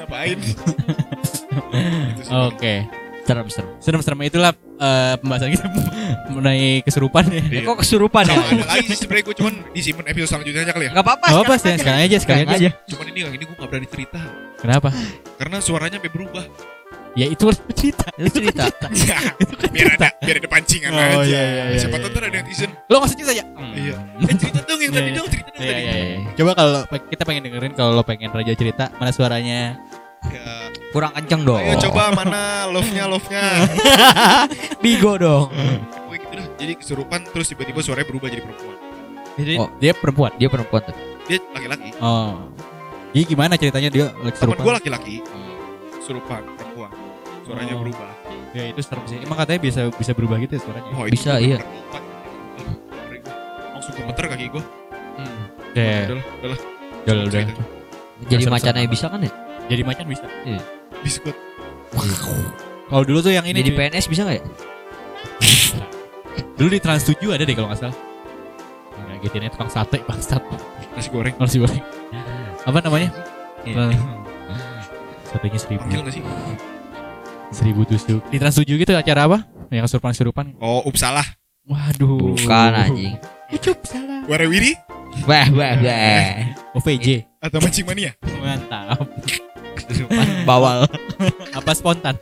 ngapain Gitu sih.
Oke.
serem serem
Serem-serem itulah eh, pembahasan kita mengenai kesurupan ya.
Iya.
kok kesurupan ya
Sama ada lagi sih sebenernya gue cuman disimpan episode selanjutnya aja kali ya
nggak apa-apa
Oh, apa sih? Sekarang aja, sekarang aja.
cuman ini kali ini gue gak berani cerita
Kenapa?
karena suaranya sampai berubah
Ya itu cerita.
lu cerita
ya, biar ada biar ada pancingan
Oh, iya,
aja
iya, iya,
siapa
iya,
tahu ntar ada netizen
Lo nggak usah cerita ya?
Iya. eh cerita dong yang tadi
Iya,
dong cerita dong
Iya,
tadi
iya, iya. Coba kalau pe- kita pengen dengerin kalau lo pengen Raja cerita mana suaranya.
Ya,
kurang kenceng dong
ayo coba mana love-nya love-nya
bigo dong
Hmm.
Pokoknya gitu dah. Jadi kesurupan terus tiba-tiba suaranya berubah jadi perempuan.
Jadi
Oh.
dia perempuan.
dia perempuan tuh
Dia laki-laki.
Oh. Jadi gimana ceritanya dia lagi
Teman
kesurupan? Hmm.
gue laki-laki. Kesurupan perempuan. Suaranya
Oh.
berubah.
Ya itu serem sih. Emang katanya bisa bisa berubah gitu ya suaranya.
Oh,
Bisa, iya.
perempuan. Eh, sorry gua. Langsung gemeter kaki gue.
Ya,
Udahlah, udahlah.
udah udah.
iya. Cerita.
jadi
Serem,
macan
serem.
aja bisa kan ya
Jadi macan bisa.
Biskut.
Kalau dulu tuh yang ini
jadi
cuy.
PNS bisa nggak ya
Dulu di Trans 7 ada deh kalau nggak salah. Ngagetinnya tukang sate bangsat.
Nasi goreng.
Nasi goreng. Apa namanya?
Iya.
Trans- Satenya seribu,
Panggil gak sih?
seribu tusuk. Di Trans 7 gitu acara apa? Yang kesurupan-kesurupan.
Oh, up salah.
Waduh.
bukan anjing
Ucup salah.
Warawiri
bah bah bah
OVJ.
atau mancing mania?
Mantap.
bawal
Apa spontan?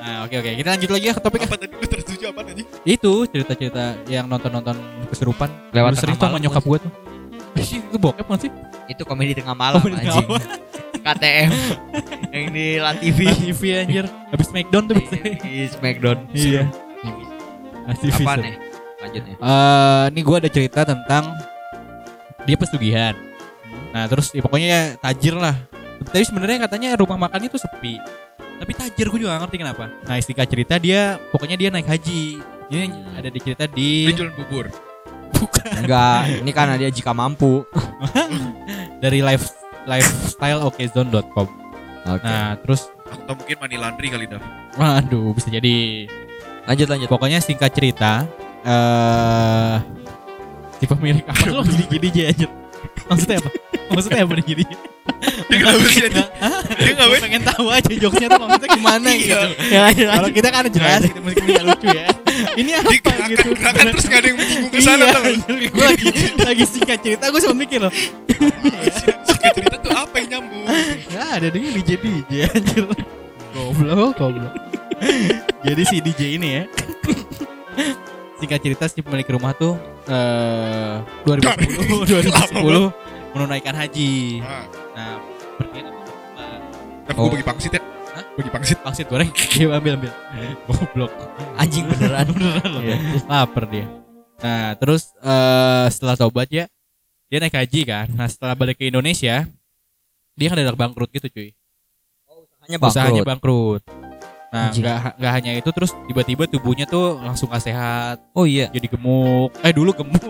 Nah, oke oke. Kita lanjut lagi ya ke topik
Apa tadi lu tertuju apa tadi?
itu cerita-cerita yang nonton-nonton keserupan Dulu
Lewat
sering tuh
tengah
sama
malam
nyokap gue tuh Eh, sih, itu bokep gak sih?
itu komedi tengah malam
Komedi tengah
anjing KTM yang di Lativi
TV anjir Habis Smackdown tuh
Iya.
biasanya
di Smackdown
Iya Aktivis
apa
tuh.
nih lanjutnya
Eh, ini gue ada cerita tentang dia pesugihan. Nah terus ya, pokoknya ya tajir lah. Tapi sebenarnya katanya rumah makannya tuh sepi. Tapi tajir gue juga gak ngerti kenapa. Nah Istika cerita dia pokoknya dia naik haji. Ini ada di cerita di
Dia jualan bubur.
bukan
enggak ini karena dia jika mampu
dari life lifestyleokezone.com.
oke
Nah terus
Atau mungkin money laundry kali dah.
waduh bisa jadi
lanjut lanjut
pokoknya singkat cerita eh si pemilik apa lo gini-gini aja anjir. Maksudnya apa? Maksudnya apa gini?
Dia kenapa sih anjing? Dia
Gue
ngapain? Iya.
pengen tahu aja jokesnya tuh maksudnya gimana gitu. Kalau kita kan jelas gitu meskipun nggak lucu ya. Ini
Dia
apa gitu?
gerakan-gerakan terus gak ada yang menyinggung ke
Iya,
sana tau gak?
gue lagi lagi singkat cerita gue sama mikir loh.
Suka cerita tuh apa yang nyambung?
Ya ada dengan DJ DJ anjir. Goblok, goblok. Jadi si DJ ini ya. Singkat cerita si pemilik rumah tuh eh 2010 2010 menunaikan haji.
Nah,
Nah, pergi
Tapi
Oh.
gue bagi pangsit ya.
Hah?
Bagi pangsit.
pangsit goreng dia ambil ambil goblok
Anjing beneran.
Iya, terus lapar dia nah terus eh, setelah tobat ya dia naik haji kan nah setelah balik ke Indonesia dia kan ada bangkrut gitu cuy
Hanya
usahanya
bangkrut.
bangkrut nah
Anjing.
nggak nggak hanya itu terus tiba-tiba tubuhnya tuh langsung gak sehat
Oh iya.
jadi gemuk eh dulu gemuk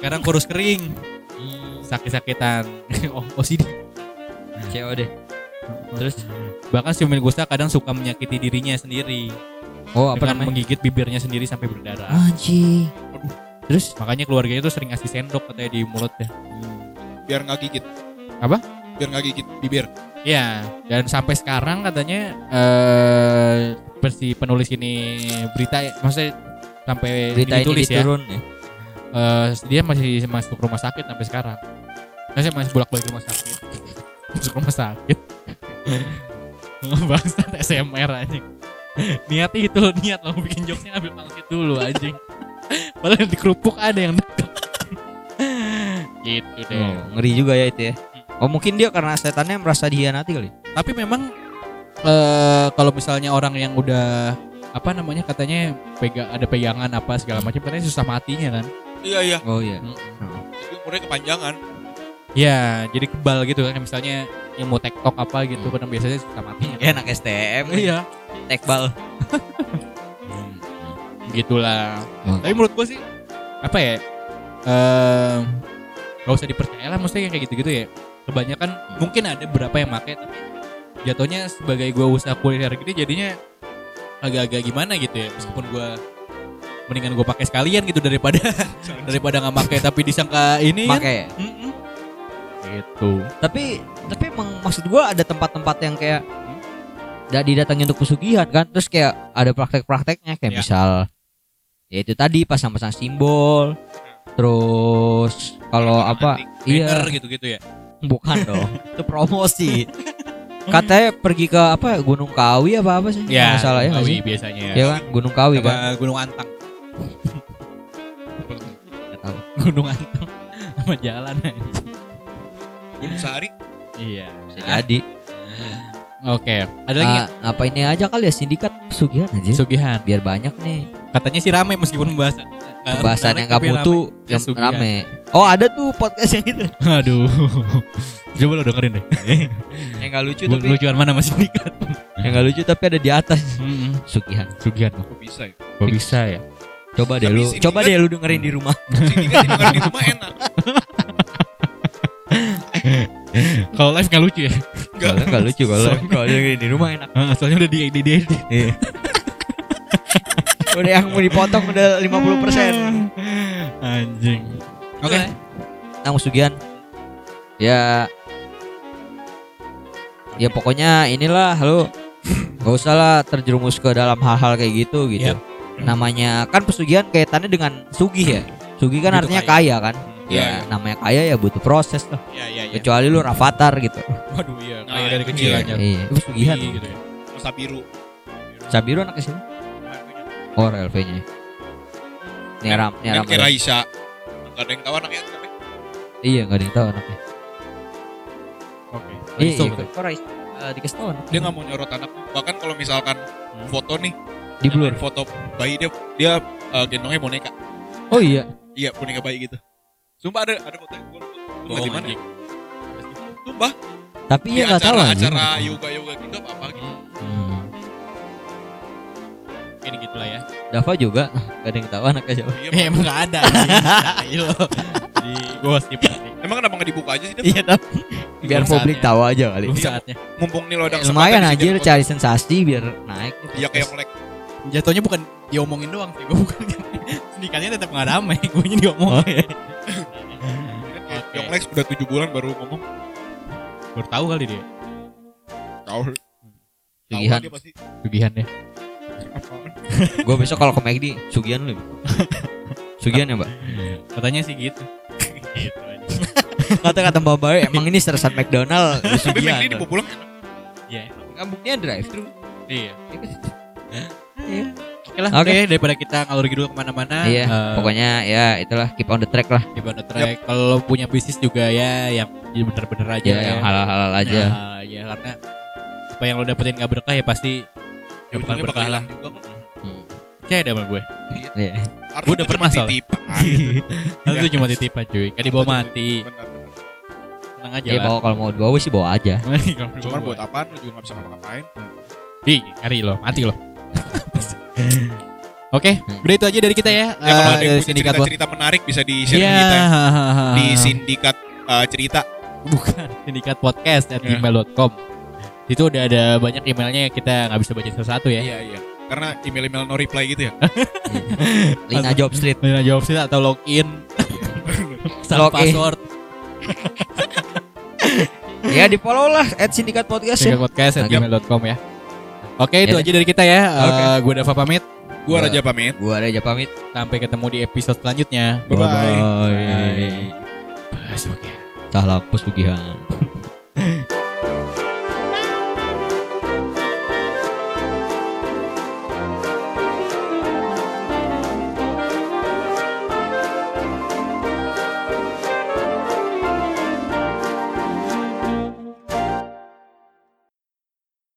sekarang kurus kering
Hmm.
sakit-sakitan oh OCD
CO deh. Terus
bahkan si Umil Gusta kadang suka menyakiti dirinya sendiri
oh apa
dengan
namanya?
menggigit bibirnya sendiri sampai berdarah
Anjing. Terus
Makanya keluarganya tuh sering ngasih sendok katanya di mulutnya.
Biar nggak gigit.
Apa?
Biar nggak gigit bibir.
Iya, dan sampai sekarang katanya eh versi penulis ini berita ya, maksudnya sampai
berita ini
ditulis ya.
diturun ya.
eh, dia masih masuk rumah sakit sampai sekarang. Saya masih bolak-balik rumah sakit. Masuk rumah sakit. Bangsat SMR anjing. Niat itu loh, niat lo bikin jokesnya ambil pangsit dulu anjing. Padahal di kerupuk ada yang dekat. gitu deh.
Oh, ngeri juga ya itu ya. Oh mungkin dia karena setannya merasa dihianati kali.
tapi memang eh kalau misalnya orang yang udah apa namanya katanya pega ada pegangan apa segala macam katanya susah matinya kan
Iya iya.
Oh iya.
Jadi umurnya kepanjangan.
ya jadi kebal gitu kan misalnya ilmu tektok apa gitu kan biasanya susah matinya kan.
Enak STM.
iya
eh. Tekbal.
gitulah
Hmm.
tapi menurut gua sih apa ya eh gak usah dipercaya lah maksudnya kayak gitu-gitu ya kebanyakan mungkin ada berapa yang pakai tapi jatuhnya sebagai gua usaha kuliner gini jadinya agak-agak gimana gitu ya meskipun gua mendingan gua pakai sekalian gitu daripada daripada nggak pakai tapi disangka ini kan.
Pakai.
Mm-mm. gitu
Tapi tapi emang maksud gua ada tempat-tempat yang kayak da didatangi untuk pesugihan kan terus kayak ada praktek-prakteknya kayak
Ya.
misal ya itu tadi pasang-pasang simbol terus kalau apa iya
banner gitu-gitu ya
bukan dong itu promosi katanya pergi ke apa Gunung Kawi apa apa sih
ya
Nggak salah ya nggak
Betawi
sih?
biasanya
ya kan Gunung Kawi
Apa,
kan
Gunung Antang
Nggak tahu.
Gunung Antang sama jalan aja.
Gunung Sari.
Iya.
bisa jadi
Oke. Ada lagi nggak?
Ah, apa ini aja kali ya sindikat pesugihan aja
Sugihan.
biar banyak nih
Katanya sih rame meskipun pembahasan.
pembahasan yang nggak butuh yang
Pesugihan.
rame oh ada tuh podcast yang itu
Aduh. Coba lo dengerin deh.
yang nggak lucu
Bu- Lucuan mana masih dikat?
yang nggak lucu tapi ada di atas pesugihan
Sugihan
Kok bisa ya?
Kok bisa ya?
Coba deh
Tapi
lu,
sindikat-
coba deh lu dengerin di rumah.
Sindikat didengar di rumah enak.
Kalau live nggak lucu ya?
Enggak.
Enggak lucu kalau kalau dengerin di rumah enak.
Ah, Soalnya udah di di di. di-
Iya. Udah yang mau dipotong udah
Hmm.
50%.
Anjing. Oke.
Nang Sugihan. Ya Ya pokoknya inilah lu Gak usah lah terjerumus ke dalam hal-hal kayak gitu gitu.
Yap.
Namanya kan pesugihan kaitannya dengan sugih ya. Sugih kan
Butuh
artinya
kaya.
kaya, kan.
Iya,
Ya, namanya kaya ya butuh proses lah.
Iya iya iya.
Kecuali lu rafathar gitu.
Waduh iya.
Nah,
Kayak dari
itu
kecil
dia.
aja.
Iya, itu pesugihan.
Iya, gitu ya.
Masa biru.
Sabiru anak kesini. Oh, LV-nya. Neram,
Kan
neram.
kayak Raisa. Enggak ada yang tahu anaknya siapa.
Iya nggak ada yang tahu anaknya.
Oke.
Iya,
Iso,
iya,
betul.
kok Rais eh, dikasih tahu anaknya.
Dia nggak mau nyorot anak. Bahkan kalau misalkan foto nih,
Hmm. di blur.
foto bayi dia dia eh, gendongnya boneka.
Oh iya.
Iya, boneka bayi gitu. Sumpah ada ada foto gue. Gue
Bohong,
di mana? ya?
anjing.
Sumpah,
Tapi
di
iya nggak tahu
acara
anjing.
acara yoga yoga gitu apa apa gitu.
Hmm.
Ini gitulah ya.
Dava juga nggak ada yang tahu anaknya siapa.
Iya,
Ya emang gak ada anjing. Tai lo. iya. Di gosip pasti.
Emang kenapa nggak dibuka aja sih? Dap?
Iya tapi biar
Belum
publik
saatnya.
tahu aja kali. Iya.
Belum saatnya.
Mumpung nih lo
Eh,
ada
Lumayan
kesempatan di
anjir
sini,
cari sensasi biar naik.
Iya kayak melek.
Jatuhnya bukan diomongin doang sih, gue bukan. Sindikatnya tetap nggak damai, gue ini diomongin. Oke.
Yang Lex udah 7 bulan baru ngomong.
Baru tahu kali dia.
Tahu. Tahu
Sugihan.
dia pasti.
Sugihan ya.
Gue besok kalau ke McD, Sugihan lu. Sugihan ya, Mbak.
Katanya sih gitu. gitu aja.
Kata kata Mbak Bae, emang ini sersan McDonald ya,
Tapi
Sugihan.
McD di pulang
Iya.
Kampungnya drive thru.
Iya.
Ya kan? Iya.
Oke lah,
Oke.
oke daripada kita ngalur gitu kemana-mana.
Iya,
eh,
pokoknya ya itulah keep on the track lah.
keep on the track. Kalau punya
Iya,
bisnis juga ya yang bener-bener aja.
Ya, yang halal-halal aja.
Nah, ya karena apa yang lo dapetin gak berkah ya pasti
Ya,
bukan
ujungnya bakal
berkah lah.
hilang juga kok.
Percaya deh sama gue.
Hmm. Iya.
Harta
Gua udah
itu Ah, cuma
pernah soalnya.
titipan.
Hal itu cuma titipan cuy. Kan dibawa mati.
Benar-benar.
Tenang aja
Jadi
lah.
Iya, bawa kalau mau bawa sih bawa aja.
Cuman buat apaan lu juga gak bisa ngapa-ngapain.
Ih, hari lo, mati lo. Oke, udah itu aja dari kita ya.
Ya kalau
Eh,
ada Hmm. yang
dari
punya
sindikat buat.
cerita-cerita menarik bisa di-share
Iya. Ah.
ke kita ya. di sindikat eh, cerita.
bukan sindikat podcast
Hmm.
at gmail.com. Itu udah ada banyak emailnya kita nggak bisa baca satu-satu ya.
Iya, iya. Karena email-email no reply gitu ya.
Lina Job Street.
Lina jawab sih atau login. Salah
Login.
password.
ya di follow lah at Sindikat Podcast ya.
Sindikat podcast at
Oke.
gmail.com ya. Oke, itu
Iya.
Ya deh.
aja dari kita ya.
Oke.
Eh, gue Dava pamit.
Gua Raja pamit.
Gua Reja pamit.
Sampai ketemu di episode selanjutnya.
Bye-bye.
Bye. Salam pesugihan.